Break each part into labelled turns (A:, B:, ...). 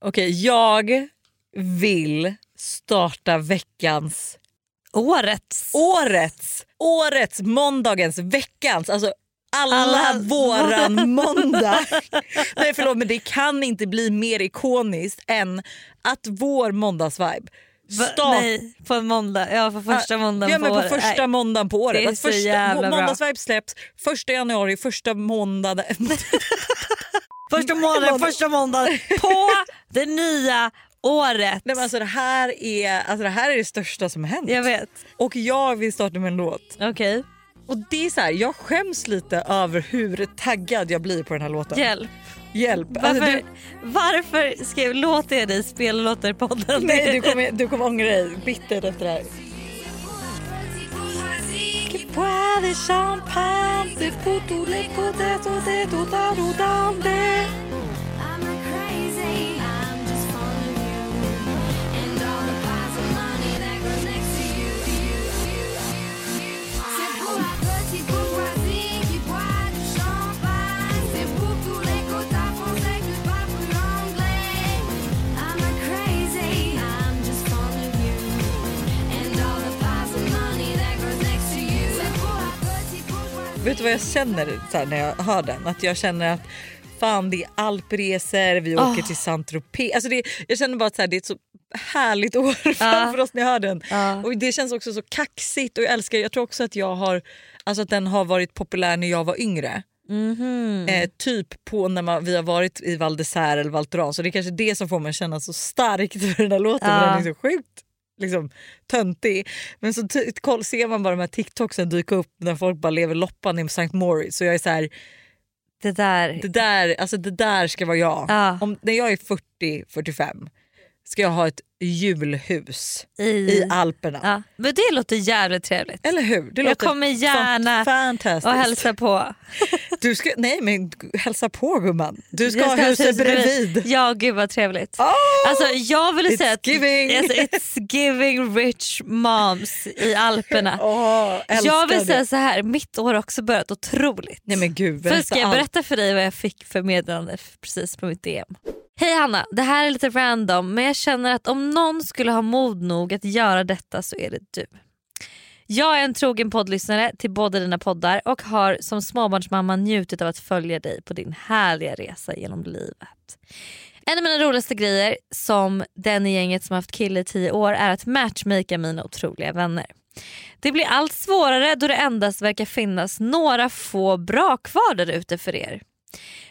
A: Okej, jag vill starta veckans,
B: Årets.
A: årets, årets, måndagens, veckans. Alltså alla,
B: Alla-
A: våran måndag. Nej förlåt men det kan inte bli mer ikoniskt än att vår måndagsvibe
B: Va-
A: startar
B: Nej, på en måndag. Ja, på första måndagen
A: ja, men på
B: året.
A: första
B: Nej.
A: måndagen på året.
B: det är
A: Att
B: så
A: första,
B: jävla bra.
A: måndagsvibe släpps första januari, första måndagen.
B: Första månaden, första måndagen på det nya året.
A: Nej, men alltså, det, här är, alltså, det här är det största som har hänt.
B: Jag vet.
A: Och jag vill starta med en låt.
B: Okej,
A: Och det är så här, jag skäms lite över hur taggad jag blir på den här låten.
B: hjälp.
A: Hjälp. Alltså,
B: Varför,
A: du,
B: varför skrev, låter jag dig spela låtar i podden?
A: nej, du, kommer, du kommer ångra dig bittert efter det här.
C: I'm not crazy. I'm just following you. And all the piles of money that grow next to you. you, you, you. C'est pour la petite bourgeoisie qui boit du champagne. C'est pour tous les quotas français qui parlent plus anglais. I'm not crazy. I'm just following you. And all the piles of money that grow next to you. C'est pour la petite bourgeoisie.
A: Vet du vad jag känner så här, när jag hör den? Att jag känner att fan det är alpresor, vi åker till Saint-Tropez. Alltså det, jag känner bara att så här, det är ett så härligt år framför oss när jag hör den.
B: Ja.
A: Och det känns också så kaxigt och jag älskar, jag tror också att jag har, alltså att den har varit populär när jag var yngre.
B: Mm.
A: Eh, typ på när man, vi har varit i Val d'Isère eller Val Thorens. Så det är kanske det som får mig att känna så starkt för den här låten.
B: Ja.
A: För den är så sjukt liksom, töntig. Men så ty- koll, ser man bara de här TikToksen dyka upp när folk bara lever loppan i St. Moritz. Så jag är så här,
B: Det där.
A: det där, alltså, det där ska vara jag.
B: Ja.
A: Om, när jag är 40-45 ska jag ha ett julhus
B: I,
A: i Alperna.
B: Mm. ja. Men det låter jävligt trevligt.
A: Eller hur? Det
B: Jag kommer gärna
A: fantastiskt.
B: Och hälsa på.
A: Du ska, nej men hälsa på gumman. Du ska,
B: Jag
A: ha
B: hälsa
A: huset
B: till dig.
A: bredvid.
B: Ja, gud vad trevligt. Alltså, jag ville
A: It's
B: säga att
A: giving.
B: Alltså, it's giving rich moms i Alperna.
A: Åh, älskar
B: jag vill
A: det.
B: säga så här, mitt år har också börjat otroligt.
A: Nej men gud,
B: För ska jag
A: allt.
B: berätta för dig vad jag fick för meddelande f- precis på mitt DM? Hej Hanna, det här är lite random men jag känner att om någon skulle ha mod nog att göra detta så är det du. Jag är en trogen poddlyssnare till båda dina poddar och har som småbarnsmamma njutit av att följa dig på din härliga resa genom livet. En av mina roligaste grejer som den i gänget som haft kille i tio år är att matchmaka mina otroliga vänner. Det blir allt svårare då det endast verkar finnas några få bra kvar där ute för er.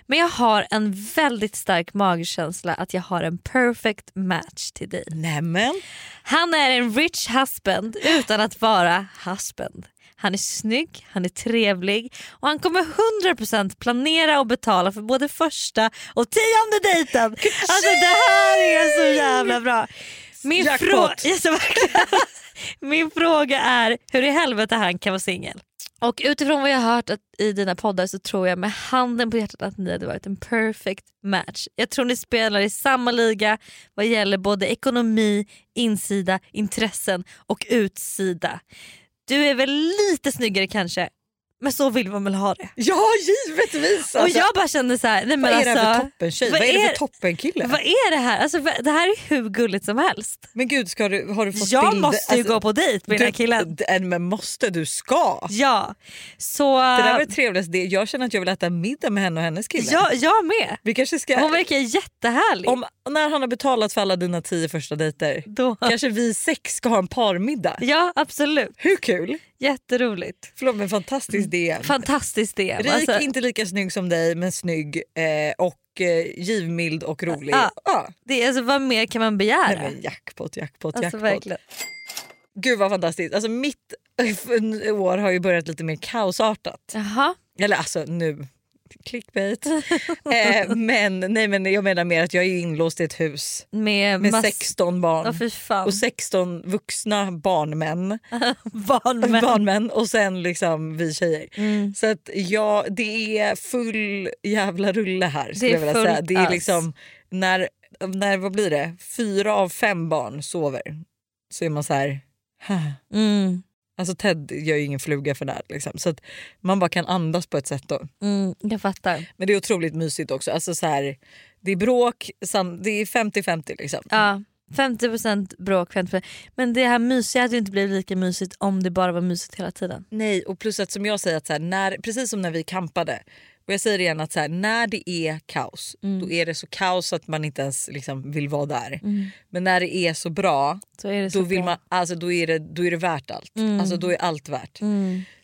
B: Men jag har en väldigt stark magkänsla att jag har en perfect match till dig.
A: Nämen.
B: Han är en rich husband utan att vara husband. Han är snygg, han är trevlig och han kommer 100% planera och betala för både första och tionde dejten. Alltså det här är så jävla bra. Min,
A: Jackpot.
B: frå- Ja, så verkligen. Min fråga är hur i helvete han kan vara singel. Och utifrån vad jag har hört att, i dina poddar så tror jag med handen på hjärtat att ni hade varit en perfect match. Jag tror ni spelar i samma liga vad gäller både ekonomi, insida, intressen och utsida. Du är väl lite snyggare kanske, men så vill man väl ha det.
A: Ja givetvis.
B: och
A: Alltså,
B: jag bara kände så här, nej men
A: vad är det
B: alltså,
A: här för toppentjej? Vad, är det för toppenkille?
B: Vad är det här? Alltså, vad- det här är hur gulligt som helst.
A: Men gud, ska du, har du fått
B: Jag
A: bild?
B: måste ju
A: alltså,
B: gå på dejt med den här
A: du-
B: killen.
A: d- äh, Men måste, du ska.
B: Ja, så...
A: Det där var det trevligaste. Det- Jag känner att jag vill äta middag med henne och hennes kille.
B: ja, jag med.
A: Vi kanske ska,
B: Hon verkar jättehärlig.
A: om, när han har betalat för alla dina tio första dejter
B: Då.
A: kanske vi sex ska ha en parmiddag.
B: Ja absolut,
A: Hur kul?
B: jätteroligt.
A: Förlåt men
B: Mm.
A: fantastisk DM.
B: Fantastiskt det.
A: Rik,
B: Alltså,
A: inte lika snygg som dig men snygg eh, och eh, givmild och rolig.
B: Ja.
A: Ja.
B: det är, alltså, vad mer kan man begära?
A: Nej, men jackpot, jackpot,
B: alltså,
A: jackpot.
B: verkligen.
A: Gud vad fantastiskt. Alltså, mitt år har ju börjat lite mer kaosartat.
B: Jaha.
A: Eller alltså nu, clickbait. eh, men, nej, men jag menar mer att jag är ju inlåst i ett hus
B: Med,
A: med
B: mass-
A: 16
B: Ja,
A: barn.
B: fy fan.
A: Och 16 vuxna barnmän,
B: Barnmän.
A: barnmän och sen liksom vi tjejer. Så att ja, det är full jävla rulle här. Skulle jag vilja
B: fullt
A: säga. Det är
B: ös.
A: liksom när, när, vad blir det, fyra av fem barn sover så är man så här, "Huh,
B: Mm.
A: Alltså Ted gör ju ingen fluga för det här, liksom. så att man bara kan andas på ett sätt. Då.
B: Mm, jag fattar.
A: Men det är otroligt mysigt också. Alltså så här, det är bråk, sam- det är 50-50 liksom.
B: Ja, 50% bråk, 50%. men det här mysiga hade ju inte blivit lika mysigt om det bara var mysigt hela tiden.
A: Nej, och plus att som jag säger, att så här, när, precis som när vi kampade. Och jag säger det igen att så här, när det är kaos, då är det så kaos att man inte ens liksom, vill vara där. Men när det är så bra,
B: Så är det så
A: då, vill
B: bra.
A: man, alltså, då, är det, då är det värt allt. Alltså, då är allt värt.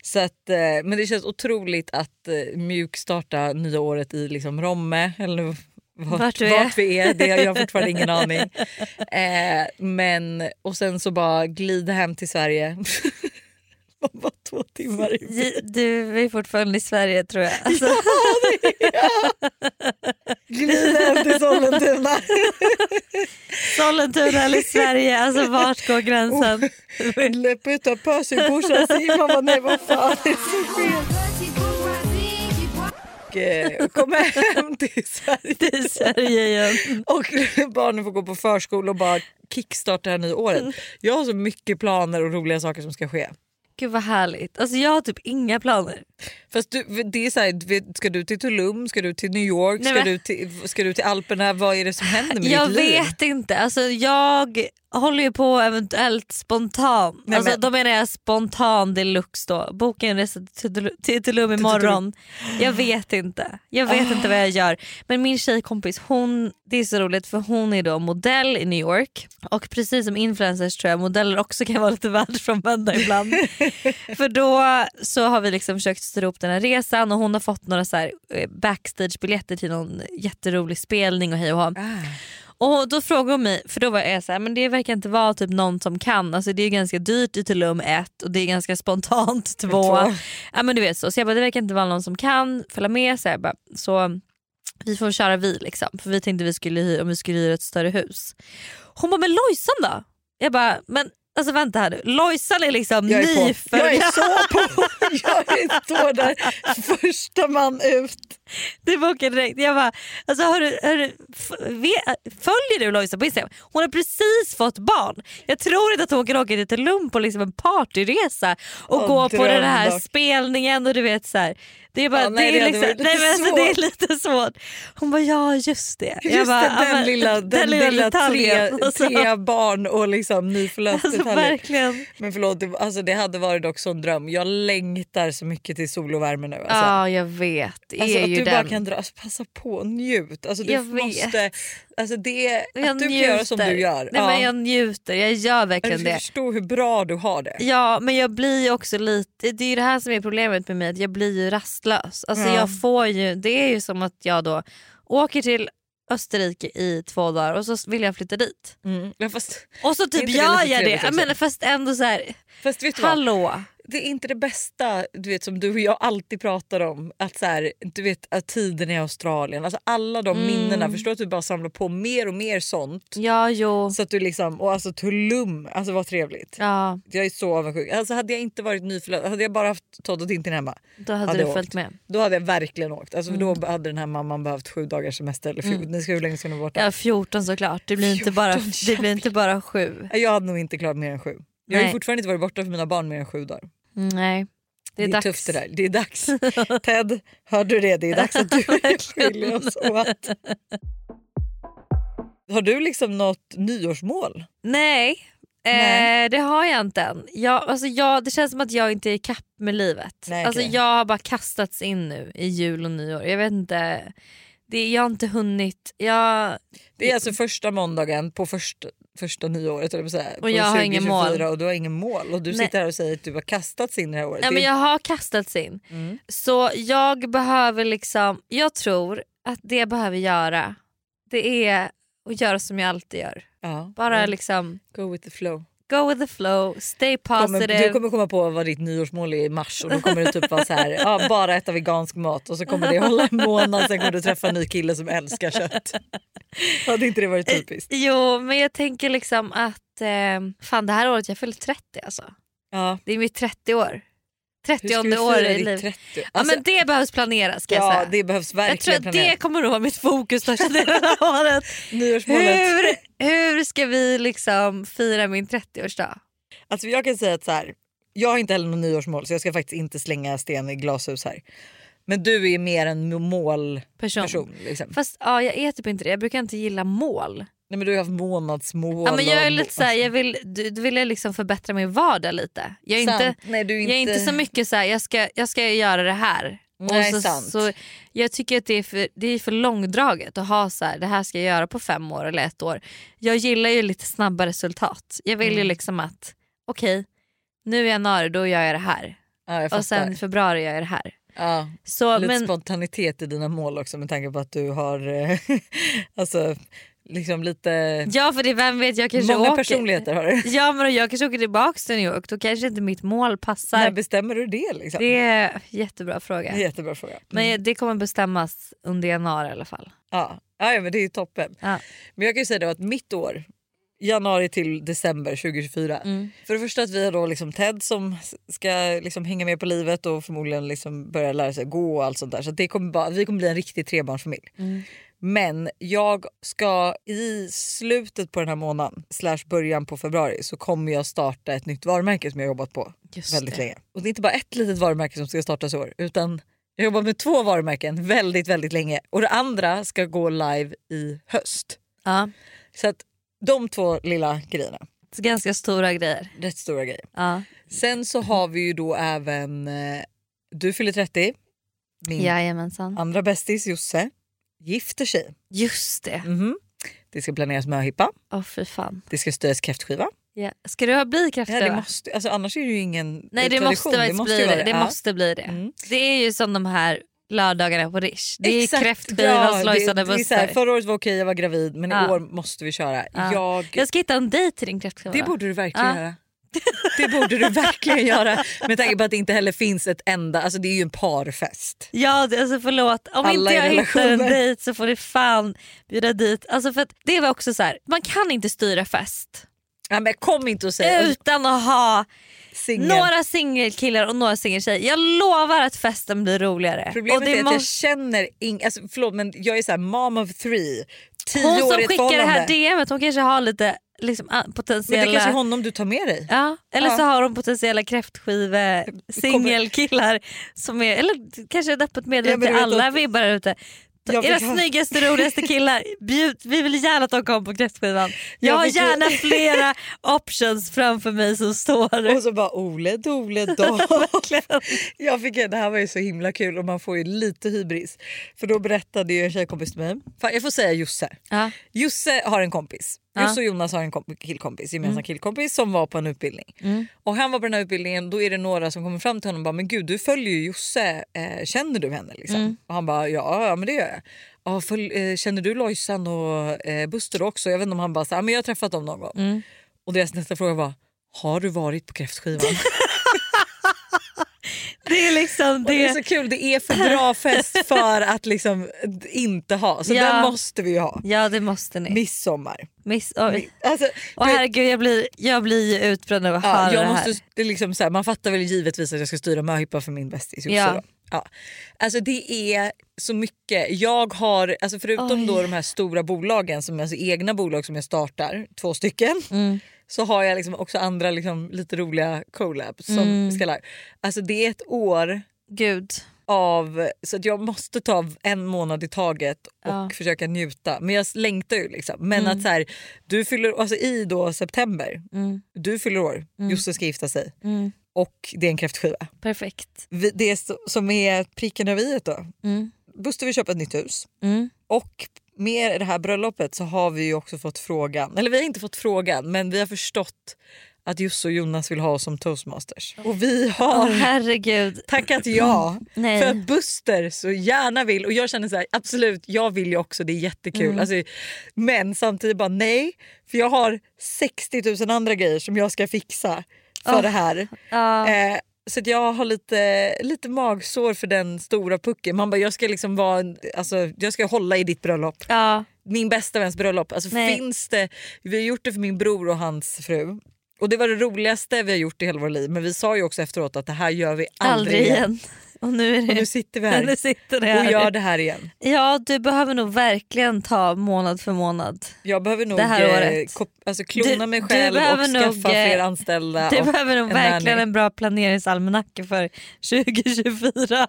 A: Så att, eh, men det känns otroligt att eh, mjukstarta nya året i liksom Romme eller v- vart,
B: Vart
A: vart,
B: vi
A: vi,
B: är.
A: är. Det, jag har fortfarande ingen aning. Eh, men, och sen så bara glida hem till Sverige. Var bara två timmar i bil.
B: J- Du är fortfarande i Sverige tror jag. Alltså,
A: Glida hem till Sollentuna.
B: Sollentuna eller Sverige, alltså vart går gränsen?
A: Löp ut och pös i brorsan Simon. Bara, Nej vad fan det är så fel.
C: Petit groupe voisine qui boit.
A: Och, eh, Kom hem till Sverige.
B: Det är Sverige igen.
A: Och barnen får gå på förskola och bara kickstarta det här nya året. Jag har så mycket planer och roliga saker som ska ske.
B: Gud vad härligt. Alltså jag har typ inga planer.
A: Fast du, det är så här, vet- ska du till Tulum, ska du till New York,
B: Nej,
A: ska,
B: men-
A: du till, ska du till Alperna? Vad är det som händer med
B: Jag
A: ditt liv?
B: vet inte. Alltså jag håller ju på eventuellt spontan.
A: Nej,
B: alltså,
A: men-
B: Då menar jag spontan deluxe då. Boka en resa till Tulum- till Tulum imorgon. Jag vet inte. Jag vet inte vad jag
A: Ah.
B: gör. Men min tjejkompis hon, det är så roligt för hon är då modell i New York. Och precis som influencers tror jag modeller också kan vara lite världsfrånvända ibland. För då så har vi liksom försökt styra upp den här resan och hon har fått några så här eh, backstagebiljetter till någon jätterolig spelning och hej och hå.
A: Ah.
B: Och då frågade hon mig, för då var jag så här, men det verkar inte vara typ någon som kan. Alltså det är ganska dyrt i Tulum ett och det är ganska spontant två.
A: Två.
B: Ja, men du vet så. så jag bara, det verkar inte vara någon som kan följa med. Så, jag bara, så vi får köra vi liksom. För vi tänkte vi skulle hyra, om vi skulle hyra ett större hus. Hon bara, men Lojsan då? Jag bara, men alltså vänta här nu. Lojsan är liksom
A: Jag är,
B: ny
A: på.
B: för
A: jag är så på! Jag är så där första man ut.
B: Det bokade direkt. Jag bara, alltså hörru, hörru, f- ve- följer du Lojsan på Instagram? Hon har precis fått barn. Jag tror inte att hon kan åka till Tulum på liksom en partyresa och
A: Åh,
B: gå på den här
A: drömdock.
B: spelningen och du vet så här. Det är bara,
A: Ja, nej,
B: det är
A: det hade varit
B: liksom,
A: lite
B: nej, men alltså, det är
A: svårt.
B: lite svårt. Hon bara ja just det. Jag
A: Just
B: bara,
A: det,
B: ja,
A: den,
B: men-
A: lilla, den, lilla tre,
B: detaljen. Alltså,
A: tre barn och liksom nyförlöst
B: alltså,
A: detaljer.
B: verkligen.
A: Men förlåt, det, alltså det hade varit också en dröm. Jag längtar så mycket till sol och värme nu. Alltså.
B: Ja jag vet. Det
A: Alltså
B: är
A: att
B: ju
A: du
B: den.
A: bara kan dra, alltså passa på och njut. Alltså du
B: Jag vet.
A: måste, alltså det,
B: Jag
A: att du kan göra som
B: njuter.
A: du gör.
B: Nej, men jag njuter, jag gör verkligen
A: du
B: det.
A: förstår hur bra du har det.
B: Ja men jag blir ju också lite, det är ju det här som är problemet med mig, att jag blir ju rastlös. Alltså
A: Ja.
B: jag får ju, det är ju som att jag då åker till Österrike i två dagar och så vill jag flytta dit.
A: Mm. Ja, fast,
B: Och så
A: inte
B: typ
A: det
B: gör
A: lite
B: jag det,
A: trevligt
B: Jag
A: också?
B: menar, fast ändå så här,
A: fast vet du vad?
B: hallå.
A: Det är inte det bästa du vet, som du och jag alltid pratar om. Att så här, du vet att tiden i Australien, alltså alla
B: Mm.
A: de minnena. Förstår att du bara samlar på mer och mer sånt.
B: Ja jo.
A: Så att du liksom, och alltså Tulum, alltså vad trevligt.
B: Ja,
A: Jag är så avundsjuk. Alltså hade jag inte varit nyförlöst, hade jag bara haft Todd och Tintin hemma.
B: då hade
A: Hade
B: du
A: åkt.
B: följt med.
A: Då hade jag verkligen åkt. Alltså, för
B: Mm.
A: Då hade den här mamman behövt sju dagars semester. Eller fjol. Ni ska hur länge ska ni vara borta?
B: Ja 14 såklart, det blir, inte, bara,
A: 14,
B: det blir inte bara sju.
A: Jag hade nog inte klarat mer än sju. Jag har
B: Nej.
A: ju fortfarande inte varit borta för mina barn mer än sju dagar.
B: Nej. Det är, dags.
A: tufft det där. Det är dags. Ted, hörde du det? Det är dags att du och jag skiljer oss åt. Har du liksom något nyårsmål?
B: Nej,
A: Nej.
B: Eh, det har jag inte än. Jag, alltså jag, det känns som att jag inte är i kapp med livet.
A: Nej,
B: alltså
A: okej.
B: jag har bara kastats in nu i jul och nyår. Jag vet inte, det, jag har inte hunnit. Jag,
A: Det är alltså första måndagen på först, första nyåret eller säga, på
B: jag har inga mål.
A: 2024, och du har ingen mål. Och du
B: Nej.
A: sitter här och säger att du har kastats in i det här året.
B: nej,
A: Det- Mm.
B: men jag har kastats in. Så jag behöver liksom, jag tror att det jag behöver göra det är att göra som jag alltid gör.
A: ja.
B: Bara
A: Mm.
B: liksom
A: Go with the flow.
B: go with the flow, stay
A: Kommer,
B: positive.
A: du kommer komma på vad ditt nyårsmål är i mars och då kommer det typ vara så här, ja, bara äta vegansk mat och så kommer det hålla en månad sen kommer du träffa en ny kille som älskar kött. Eh, Hade inte det varit typiskt?
B: Jo men jag tänker liksom att eh, fan det här året jag fyller 30 alltså.
A: Ja.
B: Det är mitt 30 år.
A: Hur ska
B: 30
A: vi
B: år
A: fira
B: i
A: ditt
B: livet.
A: 30?
B: Ja,
A: Alltså,
B: men det behövs planeras ska jag
A: ja,
B: säga.
A: det behövs
B: jag tror
A: verkligen
B: att det
A: planeras.
B: kommer nog vara mitt fokus största delen av året.
A: Nyårsmålet.
B: Hur, hur ska vi liksom fira min 30-årsdag?
A: Alltså, jag kan säga att så här, jag har inte heller något nyårsmål så jag ska faktiskt inte slänga sten i glashus här. Men du är mer en målperson.
B: Person.
A: Liksom.
B: Fast ja, jag är typ inte det. Jag brukar inte gilla mål.
A: Nej, men du har haft månadsmål.
B: Ja, men jag är
A: och-
B: lite såhär, jag vill, du, du vill jag liksom förbättra min vardag lite. Jag är,
A: Sant.
B: inte,
A: Nej, du är
B: jag är inte så mycket såhär, jag ska, jag ska göra det här.
A: Nej,
B: så,
A: sant.
B: så jag tycker att det är för, det är för långdraget att ha så här, det här ska jag göra på fem år eller ett år. Jag gillar ju lite snabba resultat. Jag vill ju
A: Mm.
B: liksom att, okej, nu i januari då gör jag det här.
A: Ja, jag
B: Och sen i
A: fattar.
B: februari gör jag det här.
A: ja,
B: Så,
A: lite
B: men,
A: spontanitet i dina mål också med tanke på att du har eh, alltså, liksom lite
B: ja för det, vem vet, jag kanske
A: många
B: åker.
A: personligheter. Har du.
B: Ja men jag kanske åker tillbaka till New York, då kanske inte mitt mål passar.
A: När bestämmer du det? Liksom?
B: Det är en jättebra fråga.
A: Det är en jättebra fråga.
B: Men det kommer bestämmas under januari i alla fall.
A: Ja, ja ja, men det är ju toppen.
B: Ja.
A: Men jag kan ju säga då att mitt år, januari till december 2024.
B: Mm.
A: För det första att vi har då liksom Ted som s- ska liksom hänga med på livet och förmodligen liksom börja lära sig gå och allt sånt där. Så att det kommer bara, vi kommer bli en riktig trebarnsfamilj.
B: Mm.
A: Men jag ska i slutet på den här månaden, slash början på februari, så kommer jag starta ett nytt varumärke som jag har jobbat på
B: Just
A: väldigt
B: det.
A: länge. Och det är inte bara ett litet varumärke som ska startas i år utan jag jobbar med två varumärken väldigt, väldigt länge och det andra ska gå live i höst.
B: Ja.
A: Så att de två lilla grejerna,
B: Det är Ganska stora grejer.
A: rätt stora grejer.
B: Ja.
A: Sen så har vi ju då även, eh, du fyller 30, min
B: Jajamensan.
A: andra bästis Josse gifter sig.
B: Just det.
A: Mhm. Det ska planeras möhippa,
B: Åh fy fan.
A: det ska stöjas kräftskiva.
B: Ja. Ska du ha bli
A: Det här, det
B: kräftskiva?
A: måste, alltså, annars är det ju ingen
B: Nej det måste,
A: tradition.
B: faktiskt bli det. Det,
A: Ja.
B: måste bli det.
A: Mm.
B: Det är ju som de här lördagarna på Rish. Det är
A: Exakt,
B: kräftskiva och
A: det- det
B: slöjsade
A: är så här,
B: bussar.
A: Förra året var okej, jag var gravid men i
B: Ja.
A: år måste vi köra.
B: Ja.
A: Jag,
B: Jag ska hitta en dejt till din kräftskiva.
A: det borde du verkligen
B: Ja.
A: göra. Det borde du verkligen göra med tanke på att det inte heller finns ett enda, alltså det är ju en parfest.
B: Ja, det- alltså förlåt. Om
A: Alla
B: inte
A: i
B: jag hittar en
A: relationer.
B: dejt så får du fan bjuda dit. Alltså för att det var också så här, man kan inte styra fest
A: Ja, men kom inte och säg alltså,
B: utan att ha
A: singel.
B: Eh, några singelkillar och några singeltjejer. Jag lovar att festen blir roligare.
A: Problemet
B: och
A: är
B: det
A: att jag
B: måste-
A: känner ing, alltså, förlåt men jag är så här mom of three, tio
B: hon
A: år
B: som
A: i ett
B: skickar det här
A: förhållande.
B: DMet hon kanske har lite liksom, ah,
A: Men det
B: potentiella...
A: kanske är honom du tar med dig.
B: Ja, eller så
A: Ja.
B: har hon potentiella kräftskive singelkillar som är, eller kanske ett öppet
A: Ja,
B: meddelande
A: men du
B: till
A: vet
B: alla
A: att-
B: vibbar där ute. Ta-
A: Jag
B: Era
A: fick höra-
B: snyggaste, roligaste killar, bjud, vi vill gärna att de kommer på kräftskivan. Jag,
A: Jag
B: har
A: fick ju-
B: gärna flera options framför mig som står.
A: Och så bara Ole dole då. jag fick, det här var ju så himla kul och man får ju lite hybris. För då berättade ju en tjejkompis till mig, fan, jag får säga Josse.
B: Ja.
A: Josse har en kompis.
B: Ja. Mm.
A: Josse och Jonas har en komp- killkompis, gemensam killkompis som var på en utbildning. Och han var på den här utbildningen då är det några som kommer fram till honom och bara “men gud du följer ju Josse, eh, känner du henne?” liksom?
B: Mm.
A: Och han bara “ja, ja men det gör jag”. Ja, följ, eh, “Känner du Lojsan och eh, Buster också?” Jag vet inte om han bara sa “ja men jag har träffat dem någon gång”.
B: Mm.
A: Och deras nästa fråga var “har du varit på kräftskivan?”
B: Det är liksom
A: Det är
B: det.
A: så kul, det är för bra fest för att liksom inte ha. Så
B: Ja.
A: den måste vi ju ha.
B: Ja det måste ni.
A: Midsommar.
B: Miss, oj.
A: Alltså,
B: Och
A: du vet-
B: herregud jag blir, jag blir ju utbränd av att höra
A: ja,
B: det
A: jag
B: här.
A: måste, det är liksom så här, Man fattar väl givetvis att jag ska styra möhippa för min bästis Josse.
B: Ja.
A: Ja. Ja. Alltså det är så mycket. Jag har, alltså förutom
B: Oj.
A: då de här stora bolagen, som alltså egna bolag som jag startar, två stycken.
B: Mm.
A: Så har jag liksom också andra liksom lite roliga collabs som
B: Mm.
A: ska live. Alltså det är ett år
B: Gud.
A: av... Så att jag måste ta en månad i taget och
B: Ja. Mm.
A: försöka njuta. Men jag längtar ju. liksom. Men att så här, du fyller, alltså i då september, du fyller år, Josse ska gifta sig och det är en kräftskiva.
B: Perfekt.
A: Vi- Det är så, som är pricken över i då.
B: Mm.
A: Buster vill köpa ett nytt hus
B: Mm.
A: och med det här bröllopet så har vi ju också fått frågan, eller vi har inte fått frågan men vi har förstått att Josse och Jonas vill ha oss som toastmasters. Och vi
B: Åh
A: har
B: herregud.
A: tackat ja.
B: Nej.
A: För att Buster så gärna vill och jag känner så här, absolut jag vill ju också det är jättekul.
B: Mm.
A: Alltså, men samtidigt bara nej för jag har 60 000 andra grejer som jag ska fixa för
B: Oh.
A: det här.
B: Ja.
A: Eh, så att jag har lite, lite magsår för den stora pucken. Man bara, jag ska liksom vara, en- alltså, jag ska hålla i ditt bröllop.
B: Ja.
A: Min bästa väns bröllop. Alltså,
B: Nej.
A: finns det, vi har gjort det för min bror och hans fru. Och Det var det roligaste vi har gjort i hela vårt liv men vi sa ju också efteråt att det här gör vi aldrig,
B: Aldrig igen. Och nu är
A: Och
B: det...
A: nu sitter vi här
B: nu sitter det
A: och
B: här.
A: gör det här igen.
B: Ja du behöver nog verkligen ta månad för månad.
A: Jag behöver nog
B: Det här
A: eh,
B: året.
A: kop- alltså, klona
B: Du-
A: mig
B: du
A: själv
B: behöver
A: och skaffa
B: nog, eh,
A: fler anställda.
B: Du
A: och
B: behöver nog
A: en
B: verkligen
A: nanny.
B: en bra planeringsalmanacka för 2024.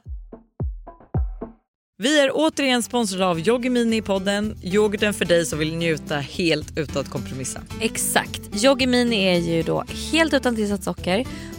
A: Vi är återigen sponsrade av Yoggi Mini i podden. Yoghurten för dig som vill njuta helt utan att kompromissa.
B: Exakt. Yoggi Mini är ju då helt utan tillsatt socker,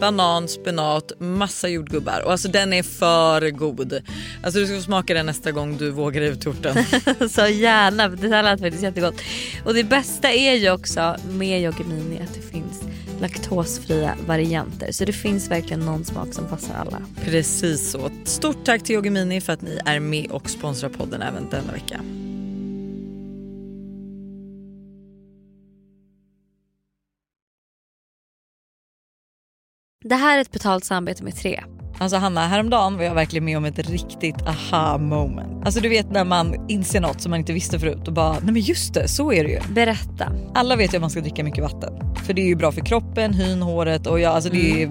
A: Banan, spenat, massa jordgubbar och alltså den är för god. Alltså du ska få smaka den nästa gång du vågar ut torten.
B: Så gärna, för det här lät faktiskt jättegott. Och det bästa är ju också med Yoggi Mini att det finns laktosfria varianter. Så det finns verkligen någon smak som passar alla.
A: Precis så. Stort tack till Yoggi Mini för att ni är med och sponsrar podden även denna vecka.
B: Det här är ett betalt samarbete med Tre.
A: Alltså Hanna, häromdagen var jag verkligen med om ett riktigt aha moment. Alltså du vet när man inser något som man inte visste förut och bara nej men just det, så är det ju.
B: Berätta.
A: Alla vet ju att man ska dricka mycket vatten för det är ju bra för kroppen, hyn, håret och ja, alltså det, är,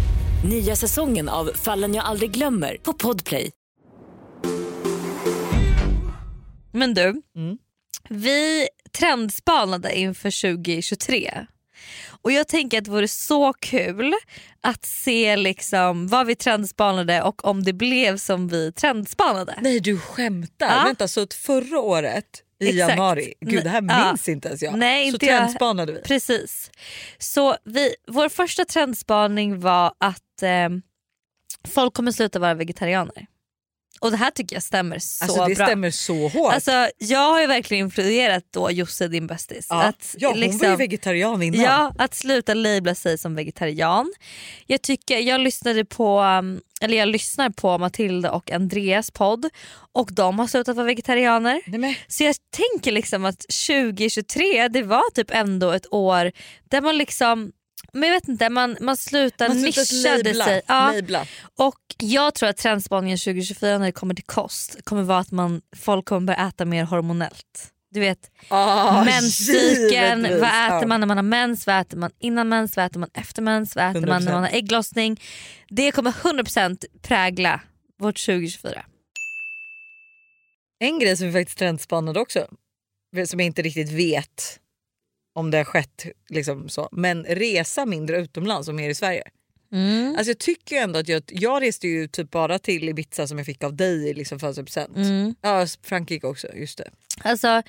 D: Nya säsongen av Fallen jag aldrig glömmer på Podplay.
B: Men du,
A: Mm.
B: vi trendspanade inför 2023. Och jag tänker att det vore så kul att se liksom vad vi trendspanade och om det blev som vi trendspanade.
A: Nej du skämtar!
B: Ja.
A: Vänta så att förra året i
B: Exakt.
A: januari, gud det här
B: Nej, ja.
A: minns ah. inte ens jag.
B: Nej,
A: så
B: inte jag.
A: trendspanade vi.
B: Precis. Så vi, vår första trendspaning var att eh, folk kommer sluta vara vegetarianer. Och det här tycker jag stämmer så
A: Alltså det
B: bra.
A: stämmer så hårt.
B: Alltså, jag har ju verkligen influerat då Josse din bästis.
A: ja.
B: Att
A: ja, hon var ju
B: liksom-
A: vegetarian innan.
B: Ja, att sluta labla sig som vegetarian. Jag, tycker, jag lyssnade på, um, eller jag lyssnar på Matilda och Andreas podd och de har slutat vara vegetarianer.
A: Nej, men,
B: Så jag tänker liksom att 2023 det var typ ändå ett år där man liksom men jag vet inte, man, man slutar
A: man slutade
B: nischade
A: labla,
B: sig. Ja,
A: labla.
B: och jag tror att trendspaningen 2024 när det kommer till kost kommer vara att man, folk kommer börja äta mer hormonellt. Du vet
A: Ah,
B: menscykeln,
A: givetvis.
B: vad äter
A: Ja.
B: man när man har mens, vad äter man innan mens, vad äter man efter mens, vad äter man när
A: 100%.
B: man har ägglossning. Det kommer 100% prägla vårt 2024.
A: En grej som vi faktiskt trendspanade också, som jag inte riktigt vet om det har skett, liksom så. men resa mindre utomlands och mer i Sverige.
B: Mm.
A: Alltså jag tycker ju ändå att jag, jag reste ju typ bara till Ibiza som jag fick av dig i liksom födelsedagspresent.
B: Mm.
A: Ja, Frankrike också, just det.
B: Alltså,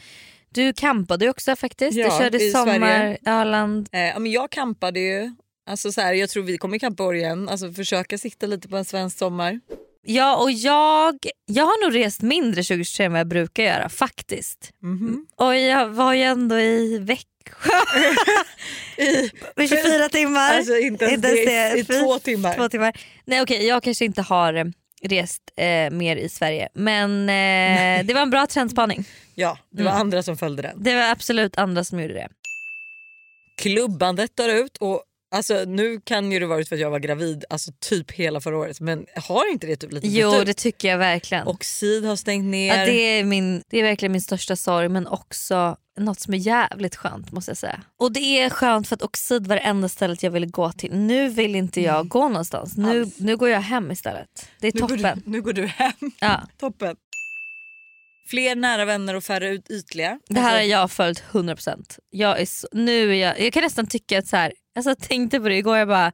B: du campade ju också faktiskt.
A: Ja,
B: du körde
A: i
B: sommar,
A: Sverige.
B: Öland.
A: Eh, ja, men jag kampade ju. Alltså så här, jag tror vi kommer kampa år igen, alltså försöka sikta lite på en svensk sommar.
B: Ja, och jag, jag har nog rest mindre 2023 än vad jag brukar göra faktiskt.
A: Mhm.
B: Och jag var ju ändå i I 24 timmar.
A: Alltså inte ens det, i- i
B: Fy-
A: två timmar.
B: två timmar. Nej okej, jag kanske inte har eh, rest eh, mer i Sverige men eh, det var en bra trendspaning.
A: Ja, det var
B: Mm.
A: andra som följde den.
B: Det var absolut andra som gjorde det.
A: Klubbandet dör ut och alltså, nu kan ju det varit för att jag var gravid alltså, typ hela förra året men har inte det typ lite
B: Jo
A: dött ut?
B: det tycker jag verkligen.
A: Och Sid har stängt ner.
B: Ja, det, är min, det är verkligen min största sorg men också något som är jävligt skönt måste jag säga. Och det är skönt för att Oxid var det enda stället jag ville gå till. Nu vill inte jag gå någonstans. Nu, nu går jag hem istället. Det är
A: nu,
B: toppen.
A: Går du, nu går du hem.
B: Ja.
A: Toppen. Fler nära vänner och färre ut- ytliga.
B: Det här har
A: Alltså,
B: jag följt 100%. Jag, är så, nu är jag, jag kan nästan tycka att så här, alltså jag tänkte på det igår, jag bara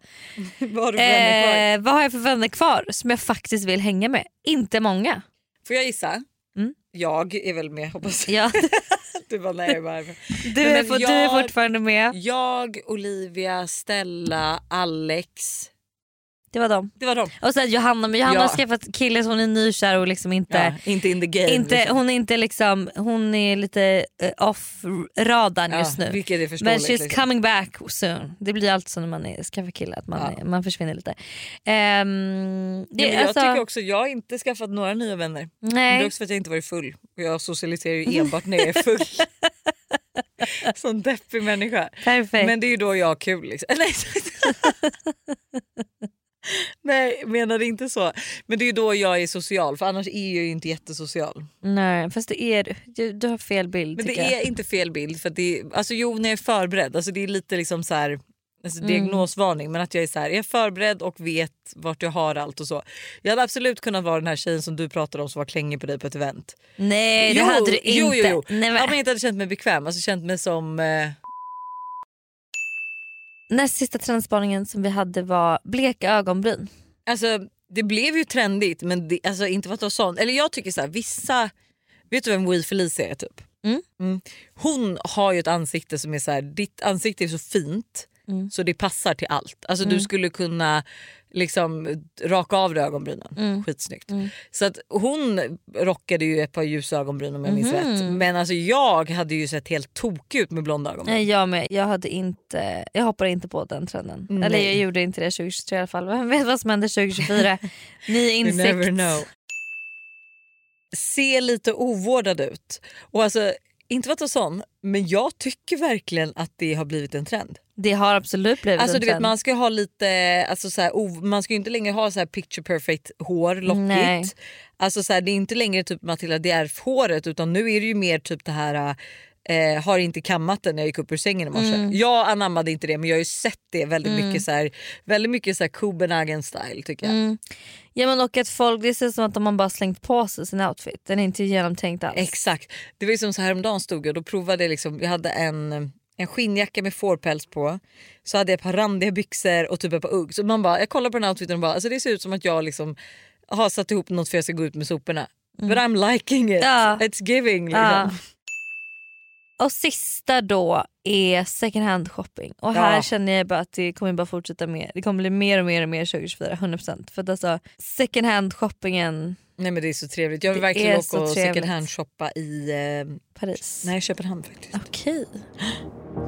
A: vad har du för vänner kvar?
B: eh, vad har jag för vänner kvar som jag faktiskt vill hänga med? Inte många.
A: Får jag gissa?
B: Mm.
A: Jag är väl med hoppas jag.
B: Jag,
A: Du bara, nej, jag, bara.
B: du,
A: men
B: är, fort- du är
A: jag-
B: fortfarande med.
A: jag, Olivia, Stella, Alex.
B: Det var dem.
A: Det var dem.
B: Och sen Johanna, men Johanna
A: Ja.
B: har skaffat kille så hon är nykär och liksom
A: Ja,
B: inte,
A: inte in the game.
B: inte,
A: liksom.
B: hon är inte liksom, hon är lite eh, off radarn
A: ja,
B: just nu.
A: Vilket är
B: Men
A: förståeligt.
B: she's
A: liksom.
B: coming back soon. Det blir alltid så när man är, skaffar kille att man,
A: Ja.
B: är, man försvinner lite. Ehm, det,
A: Ja, men jag
B: alltså,
A: tycker också jag har inte skaffat några nya vänner. Men Det är
B: nej,
A: också för att jag inte varit full. Och jag socialiserar ju enbart när jag är full. Sån deppig människa.
B: perfekt.
A: Men det är ju då jag har kul. Liksom. Nej, Nej menade inte så. Men det är ju då jag är social för annars är jag ju inte jättesocial.
B: nej, fast det är du. du. Du har fel bild
A: Men det
B: tycker jag.
A: är inte fel bild. För att det är, alltså, jo när jag är förberedd, alltså, det är lite liksom så här, alltså,
B: Mm.
A: diagnosvarning men att jag är så här, är jag förberedd och vet vart jag har allt och så. Jag hade absolut kunnat vara den här tjejen som du pratade om som var klängig på dig på ett event.
B: Nej det
A: Jo,
B: hade du inte.
A: jo, jo, jo.
B: Nej, men,
A: Om jag inte hade känt mig bekväm, alltså känt mig som... Eh,
B: Näst sista trendspaningen som vi hade var bleka ögonbryn.
A: alltså det blev ju trendigt men det, alltså, inte för att vara sån. Eller jag tycker så här, vissa... Vet du vem Wee Felicia är typ?
B: Mm.
A: Hon har ju ett ansikte som är så här, ditt ansikte är så fint
B: Mm.
A: så det passar till allt. Alltså du skulle kunna liksom raka av dig ögonbrynen.
B: Mm.
A: Skitsnyggt. Så att hon rockade ju ett par ljusa ögonbryn om jag
B: Mhm.
A: minns rätt. Men alltså jag hade ju sett helt tokig ut med blonda ögonbryn.
B: Nej, jag med. Jag, hade inte, jag hoppade inte på den trenden.
A: Nej.
B: Eller jag gjorde inte det 2023 i alla fall. Vem vet vad som händer 2024? Ny insikt.
A: You never know. Se lite ovårdad ut. Och alltså, inte för att vara sån, men jag tycker verkligen att det har blivit en trend.
B: Det har absolut blivit
A: Alltså
B: en
A: du
B: trend.
A: vet man ska ju ha lite, alltså, så här, ov- man ska ju inte längre ha så här picture perfect hår,
B: Nej.
A: lockigt. Alltså så här, det är inte längre typ Matilda Djerf håret utan nu är det ju mer typ det här eh, har inte kammat den när jag gick upp ur sängen i morse.
B: Mm.
A: Jag anammade inte det men jag har ju sett det väldigt mycket så här, väldigt mycket så här Copenhagen style tycker jag.
B: Ja men och att folk, det ser som att de har bara slängt på sig sin outfit. Den är inte genomtänkt alls.
A: Exakt. Det var ju som så häromdagen stod jag och då provade jag liksom, jag hade en, en skinnjacka med fårpäls på. Så hade jag ett par randiga byxor och typ ett par ugg. Så man bara, jag kollar på den här outfiten och bara alltså det ser ut som att jag liksom har satt ihop något för jag ska gå ut med soporna. But I'm liking it.
B: Mm. Ja.
A: It's giving. Liksom.
B: Ja. Och sista då är second hand shopping. Och här
A: Ja.
B: känner jag bara att det kommer bara fortsätta med. Det kommer bli mer och mer och mer 2024, 100%. För att alltså second hand shoppingen
A: Nej men det är så trevligt. Jag vill
B: Det är
A: verkligen åka
B: så
A: och
B: trevligt.
A: second hand shoppa i eh,
B: Paris.
A: nej, Köpenhamn faktiskt.
B: Okej.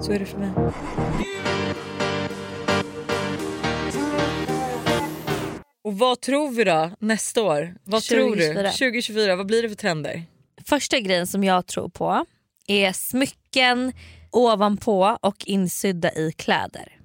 A: Så är det för mig. Och vad tror vi då nästa år? Vad tror du?
B: 2024.
A: 2024, vad blir det för trender?
B: Första grejen som jag tror på är smycken ovanpå och insydda i kläder.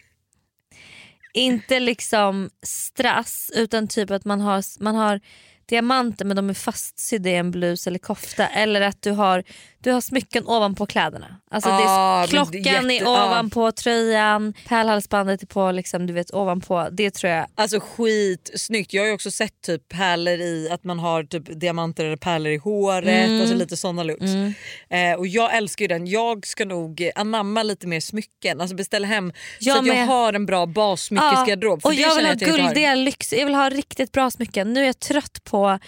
B: Inte liksom strass utan typ att man har, man har diamanter men de är fastsydda i en blus eller kofta. Eller att du har, du har smycken ovanpå kläderna. Alltså det
A: Ah,
B: är,
A: men det är
B: klockan
A: jätte-
B: är
A: ah.
B: ovanpå tröjan, pärlhalsbandet är på, liksom, du vet ovanpå. Det tror jag
A: Alltså skitsnyggt. Jag har ju också sett typ pärlor i att man har typ diamanter eller pärlor i håret.
B: Mm.
A: Alltså lite såna looks. Eh, och jag älskar ju den. Jag ska nog eh, anamma lite mer smycken. Alltså beställa hem
B: Jag
A: så att jag
B: med.
A: har en bra bassmyckesgarderob. För
B: Och
A: det
B: jag vill
A: känner
B: ha
A: att inte har.
B: guldiga lyx, jag vill ha riktigt bra smycken. Nu är jag trött på